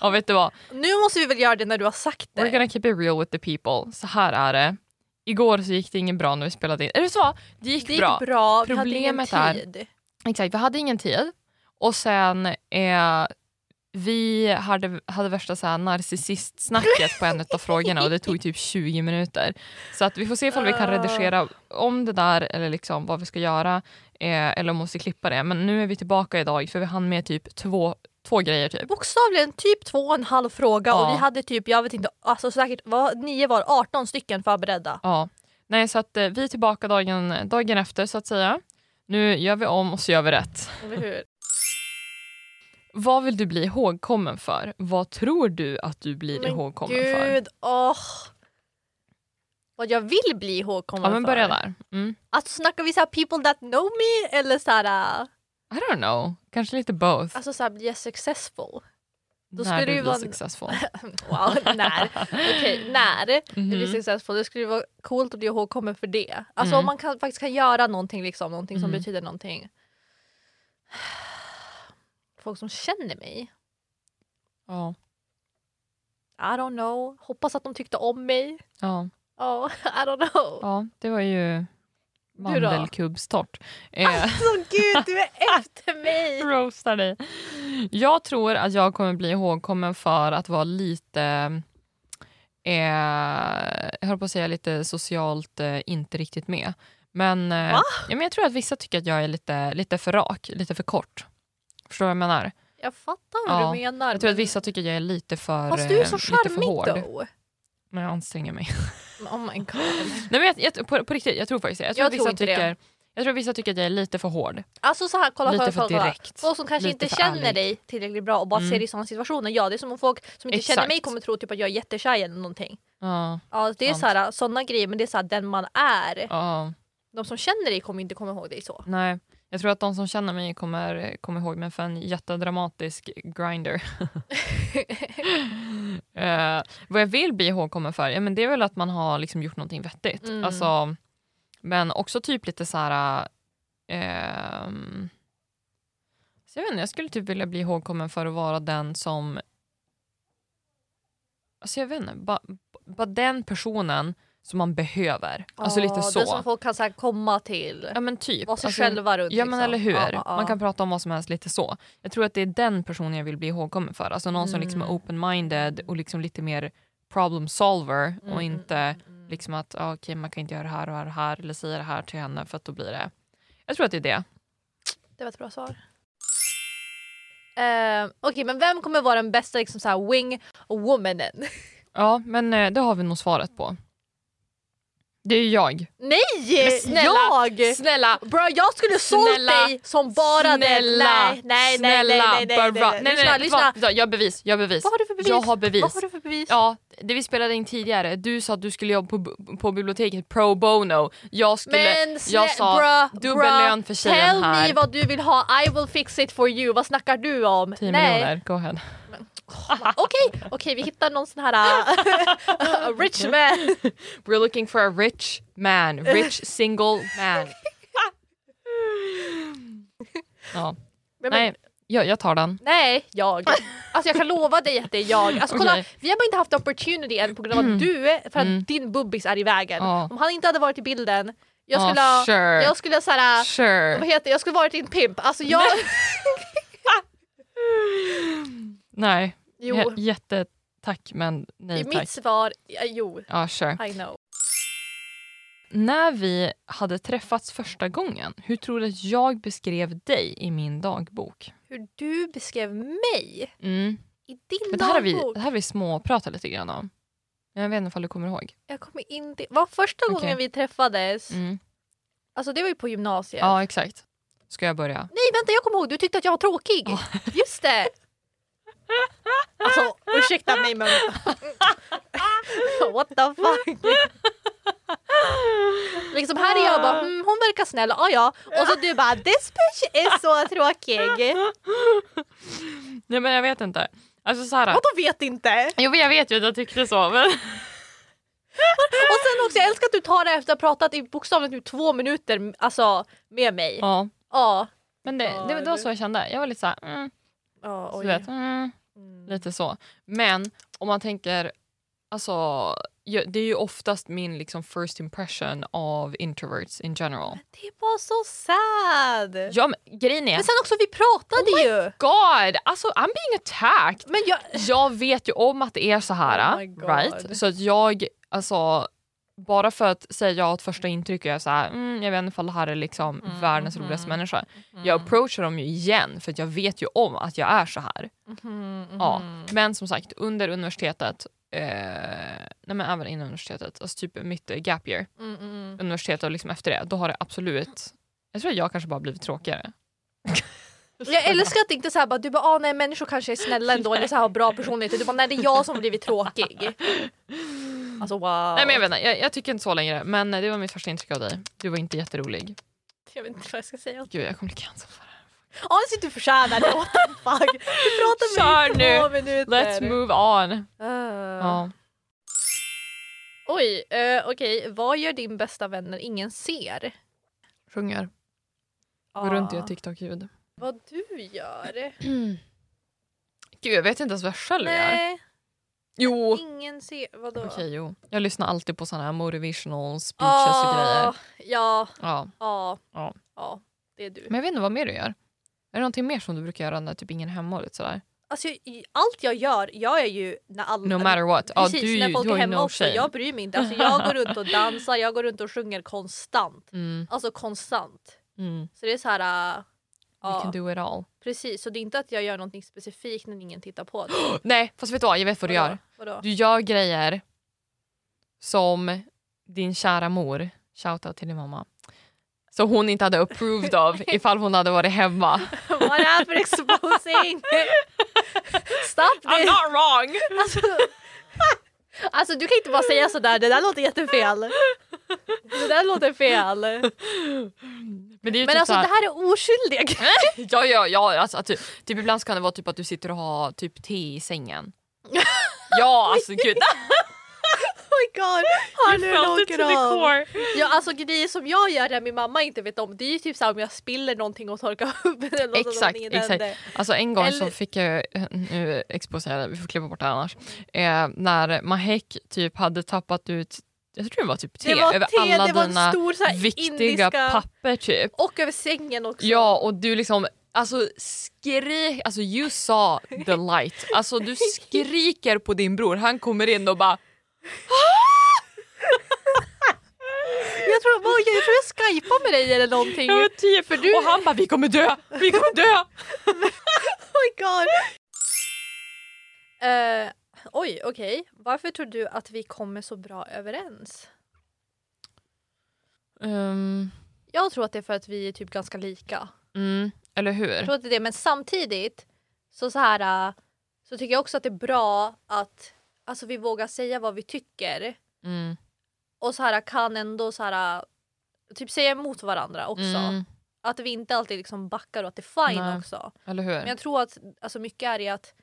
[SPEAKER 1] ja, vet du vad?
[SPEAKER 2] nu måste vi väl göra det när du har sagt
[SPEAKER 1] We're
[SPEAKER 2] det.
[SPEAKER 1] gonna keep it real with the people. Så här är det. Igår så gick det ingen bra när vi spelade in. Är det så? Det gick,
[SPEAKER 2] Det gick
[SPEAKER 1] bra.
[SPEAKER 2] bra, vi hade ingen
[SPEAKER 1] Problemet är-
[SPEAKER 2] tid.
[SPEAKER 1] Exakt, vi hade ingen tid. Och sen, eh, vi hade, hade värsta så här narcissistsnacket på en av frågorna och det tog typ 20 minuter. Så att vi får se ifall vi kan
[SPEAKER 2] Ah.
[SPEAKER 1] redigera om det där eller liksom vad vi ska göra. Eh, eller om vi måste klippa det. Men nu är vi tillbaka idag för vi hann med typ två, två grejer typ.
[SPEAKER 2] Bokstavligen typ två och en halv fråga
[SPEAKER 1] Ja.
[SPEAKER 2] och vi hade typ, jag vet inte, alltså säkert vad, nio var 18 stycken förberedda.
[SPEAKER 1] Ja. Nej, så att eh, vi är tillbaka dagen, dagen efter så att säga. Nu gör vi om och så gör vi rätt.
[SPEAKER 2] Eller hur?
[SPEAKER 1] Vad vill du bli ihågkommen för? Vad tror du att du blir
[SPEAKER 2] Men
[SPEAKER 1] ihågkommen för?
[SPEAKER 2] Gud, åh. Vad jag vill bli ihågkommen
[SPEAKER 1] Ja men börja
[SPEAKER 2] för.
[SPEAKER 1] där. Mm.
[SPEAKER 2] Alltså snackar vi så här people that know me eller så här, äh,
[SPEAKER 1] I don't know, kanske lite both.
[SPEAKER 2] alltså så här blir jag successful? då skulle
[SPEAKER 1] när
[SPEAKER 2] det
[SPEAKER 1] du
[SPEAKER 2] ju
[SPEAKER 1] blir
[SPEAKER 2] vara-
[SPEAKER 1] successful.
[SPEAKER 2] Wow, när? Okej, när jag blir
[SPEAKER 1] Mhm.
[SPEAKER 2] successful, det skulle vara coolt att bli ihågkommen för det. Alltså
[SPEAKER 1] Mm.
[SPEAKER 2] om man kan, faktiskt kan göra någonting liksom, någonting som
[SPEAKER 1] Mm.
[SPEAKER 2] betyder någonting. Folk som känner mig?
[SPEAKER 1] Ja.
[SPEAKER 2] I don't know. Hoppas att de tyckte om mig.
[SPEAKER 1] Ja.
[SPEAKER 2] Ja, I don't know.
[SPEAKER 1] ja, det var ju
[SPEAKER 2] då?
[SPEAKER 1] mandelkubbstort. Eh,
[SPEAKER 2] Alltså gud, du är efter mig!
[SPEAKER 1] roastar dig. Jag tror att jag kommer bli ihågkommen för att vara lite eh, jag höll på att säga lite socialt eh, inte riktigt med. Men, eh,
[SPEAKER 2] Va?
[SPEAKER 1] ja, men jag tror att vissa tycker att jag är lite, lite för rak, lite för kort. Förstår du vad jag menar?
[SPEAKER 2] Jag fattar vad
[SPEAKER 1] Ja,
[SPEAKER 2] du menar.
[SPEAKER 1] Jag tror att
[SPEAKER 2] men-
[SPEAKER 1] vissa tycker att jag är lite för,
[SPEAKER 2] Fast du är
[SPEAKER 1] eh,
[SPEAKER 2] så
[SPEAKER 1] lite för
[SPEAKER 2] charmig
[SPEAKER 1] hård.
[SPEAKER 2] då.
[SPEAKER 1] Men jag anstränger mig.
[SPEAKER 2] Oh my god.
[SPEAKER 1] Nej, men jag, jag, på, på riktigt, jag tror faktiskt det. Jag tror,
[SPEAKER 2] Jag
[SPEAKER 1] att vissa
[SPEAKER 2] tror inte det.
[SPEAKER 1] tycker, Jag tror att vissa tycker att jag är lite för hård.
[SPEAKER 2] Alltså så här, kolla,
[SPEAKER 1] lite
[SPEAKER 2] kolla,
[SPEAKER 1] för
[SPEAKER 2] kolla, kolla.
[SPEAKER 1] direkt.
[SPEAKER 2] Folk som kanske
[SPEAKER 1] Lite
[SPEAKER 2] inte
[SPEAKER 1] för
[SPEAKER 2] känner
[SPEAKER 1] ärlig.
[SPEAKER 2] dig tillräckligt bra och bara
[SPEAKER 1] Mm.
[SPEAKER 2] ser dig i sådana situationer. Ja, det är som om folk som inte känner
[SPEAKER 1] Exakt.
[SPEAKER 2] mig kommer tro typ att jag är jättekär eller någonting.
[SPEAKER 1] Ja,
[SPEAKER 2] Ja, det är
[SPEAKER 1] Sant.
[SPEAKER 2] så här, sådana grejer, men det är så här, den man är.
[SPEAKER 1] ja,
[SPEAKER 2] De som känner dig kommer inte komma ihåg dig så.
[SPEAKER 1] nej. Jag tror att de som känner mig kommer, kommer ihåg mig för en jättedramatisk grinder. Eh, vad jag vill bli ihågkommen för, ja, men det är väl att man har liksom gjort någonting vettigt.
[SPEAKER 2] Mm.
[SPEAKER 1] Alltså, men också typ lite så här... ehm, så jag, vet inte, jag skulle typ vilja bli ihågkommen för att vara den som... Alltså jag vet inte, bara ba den personen som man behöver. Alltså lite
[SPEAKER 2] Ja,
[SPEAKER 1] så.
[SPEAKER 2] Den som folk kan så här, komma till.
[SPEAKER 1] Ja men typ.
[SPEAKER 2] Vara sig
[SPEAKER 1] Alltså,
[SPEAKER 2] själva runt.
[SPEAKER 1] Ja men
[SPEAKER 2] liksom.
[SPEAKER 1] eller hur.
[SPEAKER 2] Ja, ja, ja.
[SPEAKER 1] Man kan prata om vad som helst lite så. Jag tror att det är den personen jag vill bli ihågkommen för. Alltså någon som liksom är
[SPEAKER 2] Mm.
[SPEAKER 1] open-minded och liksom lite mer problem solver
[SPEAKER 2] Mm,
[SPEAKER 1] och
[SPEAKER 2] mm,
[SPEAKER 1] inte
[SPEAKER 2] mm, mm.
[SPEAKER 1] liksom att ah, okej man kan inte göra det här och det här och det här eller säga det här till henne för att då blir det. Jag tror att det är det.
[SPEAKER 2] Det var ett bra svar. Eh, Okej, men vem kommer vara den bästa liksom, så här, wing womanen?
[SPEAKER 1] Ja, men eh, det har vi nog svaret på. Det är ju jag.
[SPEAKER 2] Nej!
[SPEAKER 1] Men snälla,
[SPEAKER 2] jag!
[SPEAKER 1] Snälla,
[SPEAKER 2] Bra, jag skulle sålt
[SPEAKER 1] Snälla,
[SPEAKER 2] dig som bara den.
[SPEAKER 1] snälla,
[SPEAKER 2] Nej, nej, nej,
[SPEAKER 1] snälla,
[SPEAKER 2] nej, nej, nej,
[SPEAKER 1] Barbara.
[SPEAKER 2] nej, nej,
[SPEAKER 1] nej, nej,
[SPEAKER 2] Lyssna,
[SPEAKER 1] nej,
[SPEAKER 2] lyssna.
[SPEAKER 1] va- Jag har bevis, jag har bevis.
[SPEAKER 2] Vad har du för bevis?
[SPEAKER 1] Jag har bevis.
[SPEAKER 2] Vad har du för bevis?
[SPEAKER 1] Ja, det vi spelade in tidigare, du sa att du skulle jobba på, på biblioteket pro bono. Jag skulle...
[SPEAKER 2] men snä-
[SPEAKER 1] jag sa,
[SPEAKER 2] bra,
[SPEAKER 1] dubbel
[SPEAKER 2] bra.
[SPEAKER 1] lön för tjejen
[SPEAKER 2] Tell
[SPEAKER 1] här.
[SPEAKER 2] me vad du vill ha, I will fix it for you. Vad snackar du om?
[SPEAKER 1] 10
[SPEAKER 2] Nej.
[SPEAKER 1] miljoner, go ahead.
[SPEAKER 2] Okej, okej, vi hittar någon sån här äh, rich man.
[SPEAKER 1] We're looking for a rich man, rich single man. ja.
[SPEAKER 2] Men,
[SPEAKER 1] Nej, jag, jag tar den.
[SPEAKER 2] Nej, jag. Alltså jag kan lova dig att det är jag. Alltså kolla,
[SPEAKER 1] Okej. Mm.
[SPEAKER 2] vi har bara inte haft opportunity än på grund av att du, är- för att din bubbis är i vägen.
[SPEAKER 1] Ja.
[SPEAKER 2] Om han inte hade varit i bilden, jag
[SPEAKER 1] Ja,
[SPEAKER 2] skulle ha,
[SPEAKER 1] sure.
[SPEAKER 2] jag skulle ha såhär, vad
[SPEAKER 1] Sure.
[SPEAKER 2] heter det? jag skulle varit din pimp. Alltså jag,
[SPEAKER 1] Nej,
[SPEAKER 2] jo,
[SPEAKER 1] J- jättetack men nej tack.
[SPEAKER 2] mitt svar, ja, jo,
[SPEAKER 1] Ja, sure.
[SPEAKER 2] I know.
[SPEAKER 1] När vi hade träffats första gången, hur tror du att jag beskrev dig i min dagbok?
[SPEAKER 2] Hur du beskrev mig
[SPEAKER 1] Mm.
[SPEAKER 2] i din
[SPEAKER 1] Det här har vi,
[SPEAKER 2] dagbok.
[SPEAKER 1] det här har vi småpratat lite grann om. Men Jag vet inte om du kommer ihåg.
[SPEAKER 2] Jag kommer inte, var första
[SPEAKER 1] Okej.
[SPEAKER 2] gången vi träffades,
[SPEAKER 1] Mm.
[SPEAKER 2] alltså det var ju på gymnasiet.
[SPEAKER 1] Ja, exakt. Ska jag börja?
[SPEAKER 2] Nej vänta jag kommer ihåg, du tyckte att jag var tråkig. Just det. Alltså ursäkta mig men... What the fuck. Liksom här är jag bara, mm, hon verkar snäll, ja ja. Och så du bara, this bitch är så tråkig.
[SPEAKER 1] Nej, men jag vet inte. Alltså så här.
[SPEAKER 2] Vadå vet inte?
[SPEAKER 1] Jo, men jag vet ju att jag tyckte så. Men...
[SPEAKER 2] Och sen också, jag älskar att du tar det efter att ha pratat i bokstavligt nu två minuter alltså, med mig. Ja.
[SPEAKER 1] Ja.
[SPEAKER 2] ja.
[SPEAKER 1] Men det, det, det var så jag kände. Jag var lite så här, mm, så
[SPEAKER 2] oj.
[SPEAKER 1] du vet, mm,
[SPEAKER 2] Mm.
[SPEAKER 1] lite så. Men om man tänker, alltså, ju- det är ju oftast min liksom, first impression av introverts in general.
[SPEAKER 2] Det var så sad.
[SPEAKER 1] Ja, Oh men, grejen är,
[SPEAKER 2] Men sen också vi pratade ju.
[SPEAKER 1] god, alltså I'm being attacked.
[SPEAKER 2] Men jag,
[SPEAKER 1] Jag vet ju om att det är så
[SPEAKER 2] Oh
[SPEAKER 1] här,
[SPEAKER 2] my God.
[SPEAKER 1] right? Så att jag, alltså, bara för att säga ja åt första intryck är jag så här, mm, jag vet inte ifall det här är liksom
[SPEAKER 2] Mm,
[SPEAKER 1] världens roligaste människa. Jag approachar dem ju igen för att jag vet ju om att jag är så här. Ja.
[SPEAKER 2] Mm.
[SPEAKER 1] Men som sagt, under universitetet, eh, nej men även innan universitetet, alltså typ mitt eh, gap year,
[SPEAKER 2] Mm, mm.
[SPEAKER 1] universitetet och liksom efter det, då har det absolut, jag tror att jag kanske bara blivit tråkigare.
[SPEAKER 2] Jag älskar att det inte är så här, bara, du bara ah, nej människor kanske är snälla ändå eller så här, har bra personlighet. Du bara nej det är jag som har blivit tråkig. Alltså wow.
[SPEAKER 1] Nej men jag vet inte, jag, jag tycker inte så längre men eh, det var mitt första intryck av dig. Du var inte jätterolig.
[SPEAKER 2] Jag vet inte vad jag ska säga.
[SPEAKER 1] Gud jag kommer bli cancelled för det här.
[SPEAKER 2] Honestly du förtjänar det, what the fuck. Du pratar med mig i
[SPEAKER 1] Kör
[SPEAKER 2] två minuter.
[SPEAKER 1] Let's move on!
[SPEAKER 2] Ah.
[SPEAKER 1] Ja.
[SPEAKER 2] Oj, uh, okej. Vad gör din bästa vän när ingen ser? Ah,
[SPEAKER 1] Sjunger, går runt och gör typ- TikTok-ljud.
[SPEAKER 2] Vad du gör?
[SPEAKER 1] Gud jag vet inte ens vad jag själv gör.
[SPEAKER 2] Mm. Nej,
[SPEAKER 1] Jo!
[SPEAKER 2] ingen ser. Vadå?
[SPEAKER 1] Okej jo. Jag lyssnar alltid på såna här motivational speeches
[SPEAKER 2] Ah,
[SPEAKER 1] och grejer.
[SPEAKER 2] Ja,
[SPEAKER 1] Ja.
[SPEAKER 2] ja,
[SPEAKER 1] Ja.
[SPEAKER 2] ja. Det är du.
[SPEAKER 1] Men jag vet inte vad mer du gör. Är det någonting mer som du brukar göra när typ ingen är hemma och lite sådär?
[SPEAKER 2] Alltså, i- allt jag gör gör jag ju när alla...
[SPEAKER 1] No matter what. Ja,
[SPEAKER 2] Mm. Precis,
[SPEAKER 1] du,
[SPEAKER 2] när folk
[SPEAKER 1] du
[SPEAKER 2] är
[SPEAKER 1] har ju
[SPEAKER 2] hemma
[SPEAKER 1] no
[SPEAKER 2] också.
[SPEAKER 1] shame.
[SPEAKER 2] Jag bryr mig inte. Alltså, jag går runt och dansar, jag går runt och sjunger konstant.
[SPEAKER 1] Mm,
[SPEAKER 2] Alltså konstant.
[SPEAKER 1] mm.
[SPEAKER 2] Så det är så här... äh,
[SPEAKER 1] We can
[SPEAKER 2] ja,
[SPEAKER 1] do it all.
[SPEAKER 2] precis. Så det är inte att jag gör någonting specifikt när ingen tittar på det.
[SPEAKER 1] Nej, fast vet du vad? Jag vet vad du
[SPEAKER 2] Vadå?
[SPEAKER 1] gör.
[SPEAKER 2] Vadå?
[SPEAKER 1] Du gör grejer som din kära mor, shoutout till din mamma, så hon inte hade approved av ifall hon hade varit hemma.
[SPEAKER 2] What happened exposing? Stop this!
[SPEAKER 1] not wrong!
[SPEAKER 2] Alltså, alltså du kan inte bara säga sådär, det där låter jättefel. Det där låter fel.
[SPEAKER 1] Men det är ju
[SPEAKER 2] Men
[SPEAKER 1] typ
[SPEAKER 2] alltså det
[SPEAKER 1] såhär-
[SPEAKER 2] här är oskyldiga grejer.
[SPEAKER 1] Ja, ja, ja alltså, att, du- typ ibland så kan det vara typ att du sitter och har typ te i sängen. ja, alltså gud.
[SPEAKER 2] Oh my god! Har nu åker av.
[SPEAKER 1] core.
[SPEAKER 2] Ja, alltså grejer som jag gör där min mamma inte vet om det är ju typ såhär om jag spiller någonting och torkar upp det eller något
[SPEAKER 1] Exakt, exakt. Alltså en gång
[SPEAKER 2] Eller-
[SPEAKER 1] så fick jag, nu exposerar jag, vi får klippa bort det här annars, eh, när Mahek typ hade tappat ut, jag tror det var typ te,
[SPEAKER 2] Det var
[SPEAKER 1] över
[SPEAKER 2] te,
[SPEAKER 1] alla
[SPEAKER 2] det var en
[SPEAKER 1] dina
[SPEAKER 2] stor så här
[SPEAKER 1] viktiga
[SPEAKER 2] indiska...
[SPEAKER 1] papper typ.
[SPEAKER 2] Och över sängen också.
[SPEAKER 1] Ja och du liksom Alltså skrik, alltså you saw the light. Alltså du skriker på din bror, han kommer in och bara
[SPEAKER 2] Jag tror, vad jag tror jag skypade med dig eller någonting.
[SPEAKER 1] Jag
[SPEAKER 2] Oh
[SPEAKER 1] var tio, typ, för du... Och han bara vi kommer dö, vi kommer dö!
[SPEAKER 2] my god. Eh, oj, okej. Varför tror du att vi kommer så bra överens?
[SPEAKER 1] Ehm,
[SPEAKER 2] Jag tror att det är för att vi är typ ganska lika.
[SPEAKER 1] mm, eller hur?
[SPEAKER 2] Jag tror att det är det, men samtidigt så, så, här, äh, så tycker jag också att det är bra att alltså, vi vågar säga vad vi tycker
[SPEAKER 1] Mm,
[SPEAKER 2] och så här eh, kan ändå så här, äh, typ säga emot varandra också.
[SPEAKER 1] mm,
[SPEAKER 2] Att vi inte alltid liksom backar och att det är fine
[SPEAKER 1] Nej.
[SPEAKER 2] också.
[SPEAKER 1] eller hur?
[SPEAKER 2] Men jag tror att alltså, mycket är i att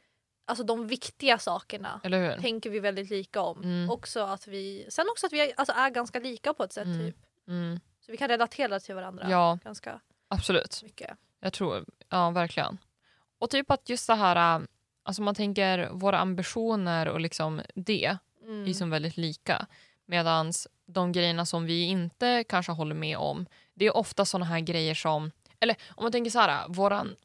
[SPEAKER 2] alltså, de viktiga sakerna
[SPEAKER 1] Eller hur?
[SPEAKER 2] tänker vi väldigt lika om.
[SPEAKER 1] Mm.
[SPEAKER 2] Också att vi, sen också att vi är- alltså, är ganska lika på ett sätt.
[SPEAKER 1] Mm.
[SPEAKER 2] Typ.
[SPEAKER 1] Mm,
[SPEAKER 2] Så vi kan relatera till varandra
[SPEAKER 1] ja,
[SPEAKER 2] ganska
[SPEAKER 1] absolut.
[SPEAKER 2] mycket.
[SPEAKER 1] Jag tror, ja verkligen. Och typ att just det här, äh, alltså man tänker våra ambitioner och liksom det
[SPEAKER 2] Mm.
[SPEAKER 1] är ju som väldigt lika. Medan de grejerna som vi inte kanske håller med om, det är ofta såna här grejer som, eller om man tänker så här, våran,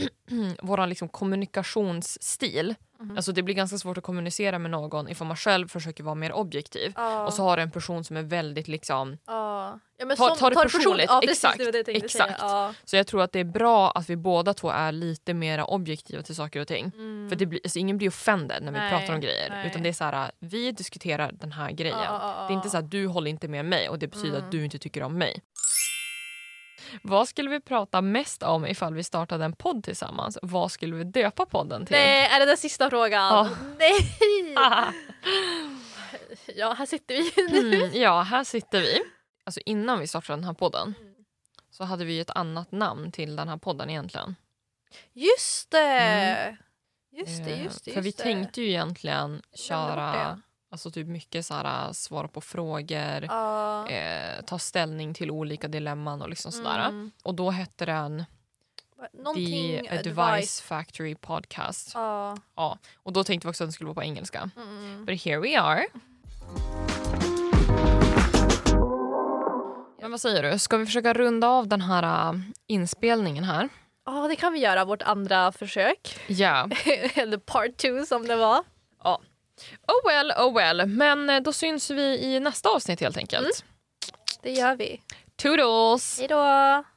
[SPEAKER 1] våran liksom kommunikationsstil,
[SPEAKER 2] Mhm.
[SPEAKER 1] alltså det blir ganska svårt att kommunicera med någon ifall man själv försöker vara mer objektiv.
[SPEAKER 2] Ja.
[SPEAKER 1] Och så har du en person som är väldigt liksom
[SPEAKER 2] Ja. Ja, men
[SPEAKER 1] Ta-
[SPEAKER 2] som-
[SPEAKER 1] ta det personligt.
[SPEAKER 2] Ja, precis,
[SPEAKER 1] Exakt,
[SPEAKER 2] det var det jag tänkte
[SPEAKER 1] exakt.
[SPEAKER 2] Säga. Ja.
[SPEAKER 1] Så jag tror att det är bra att vi båda två är lite mer objektiva till saker och ting.
[SPEAKER 2] Mm.
[SPEAKER 1] För det blir, alltså ingen blir offended när vi
[SPEAKER 2] Nej,
[SPEAKER 1] pratar om grejer.
[SPEAKER 2] nej.
[SPEAKER 1] Utan det är så här, vi diskuterar den här grejen. Det är inte så att du håller inte med mig och det betyder
[SPEAKER 2] Mm.
[SPEAKER 1] att du inte tycker om mig. Vad skulle vi prata mest om ifall vi startade en podd tillsammans? Vad skulle vi döpa podden till?
[SPEAKER 2] Nej, är det den sista frågan?
[SPEAKER 1] Ja.
[SPEAKER 2] Nej!
[SPEAKER 1] Ah.
[SPEAKER 2] Ja, här sitter vi nu.
[SPEAKER 1] Mm, ja, här sitter vi. Alltså innan vi startade den här podden
[SPEAKER 2] Mm.
[SPEAKER 1] så hade vi ju ett annat namn till den här podden egentligen.
[SPEAKER 2] Just det!
[SPEAKER 1] Mm.
[SPEAKER 2] Just det,
[SPEAKER 1] Eh,
[SPEAKER 2] just det.
[SPEAKER 1] För vi
[SPEAKER 2] just det.
[SPEAKER 1] tänkte ju egentligen
[SPEAKER 2] bort det.
[SPEAKER 1] köra alltså typ mycket så här, svara på frågor,
[SPEAKER 2] Ja.
[SPEAKER 1] eh, ta ställning till olika dilemman och liksom sådär.
[SPEAKER 2] Mm.
[SPEAKER 1] Och då hette den
[SPEAKER 2] Någonting
[SPEAKER 1] The Advice Factory Podcast.
[SPEAKER 2] Ja.
[SPEAKER 1] Och då tänkte vi också att den skulle vara på engelska.
[SPEAKER 2] Mm, mm.
[SPEAKER 1] But here we are. Men vad säger du, ska vi försöka runda av den här äh, inspelningen här?
[SPEAKER 2] Ja, det kan vi göra. Vårt andra försök.
[SPEAKER 1] Ja.
[SPEAKER 2] Eller part two som det var.
[SPEAKER 1] Oh well, oh well. Men eh, då
[SPEAKER 2] Mm.
[SPEAKER 1] syns vi i nästa avsnitt helt enkelt.
[SPEAKER 2] Det gör vi.
[SPEAKER 1] Toodles!
[SPEAKER 2] Hej då!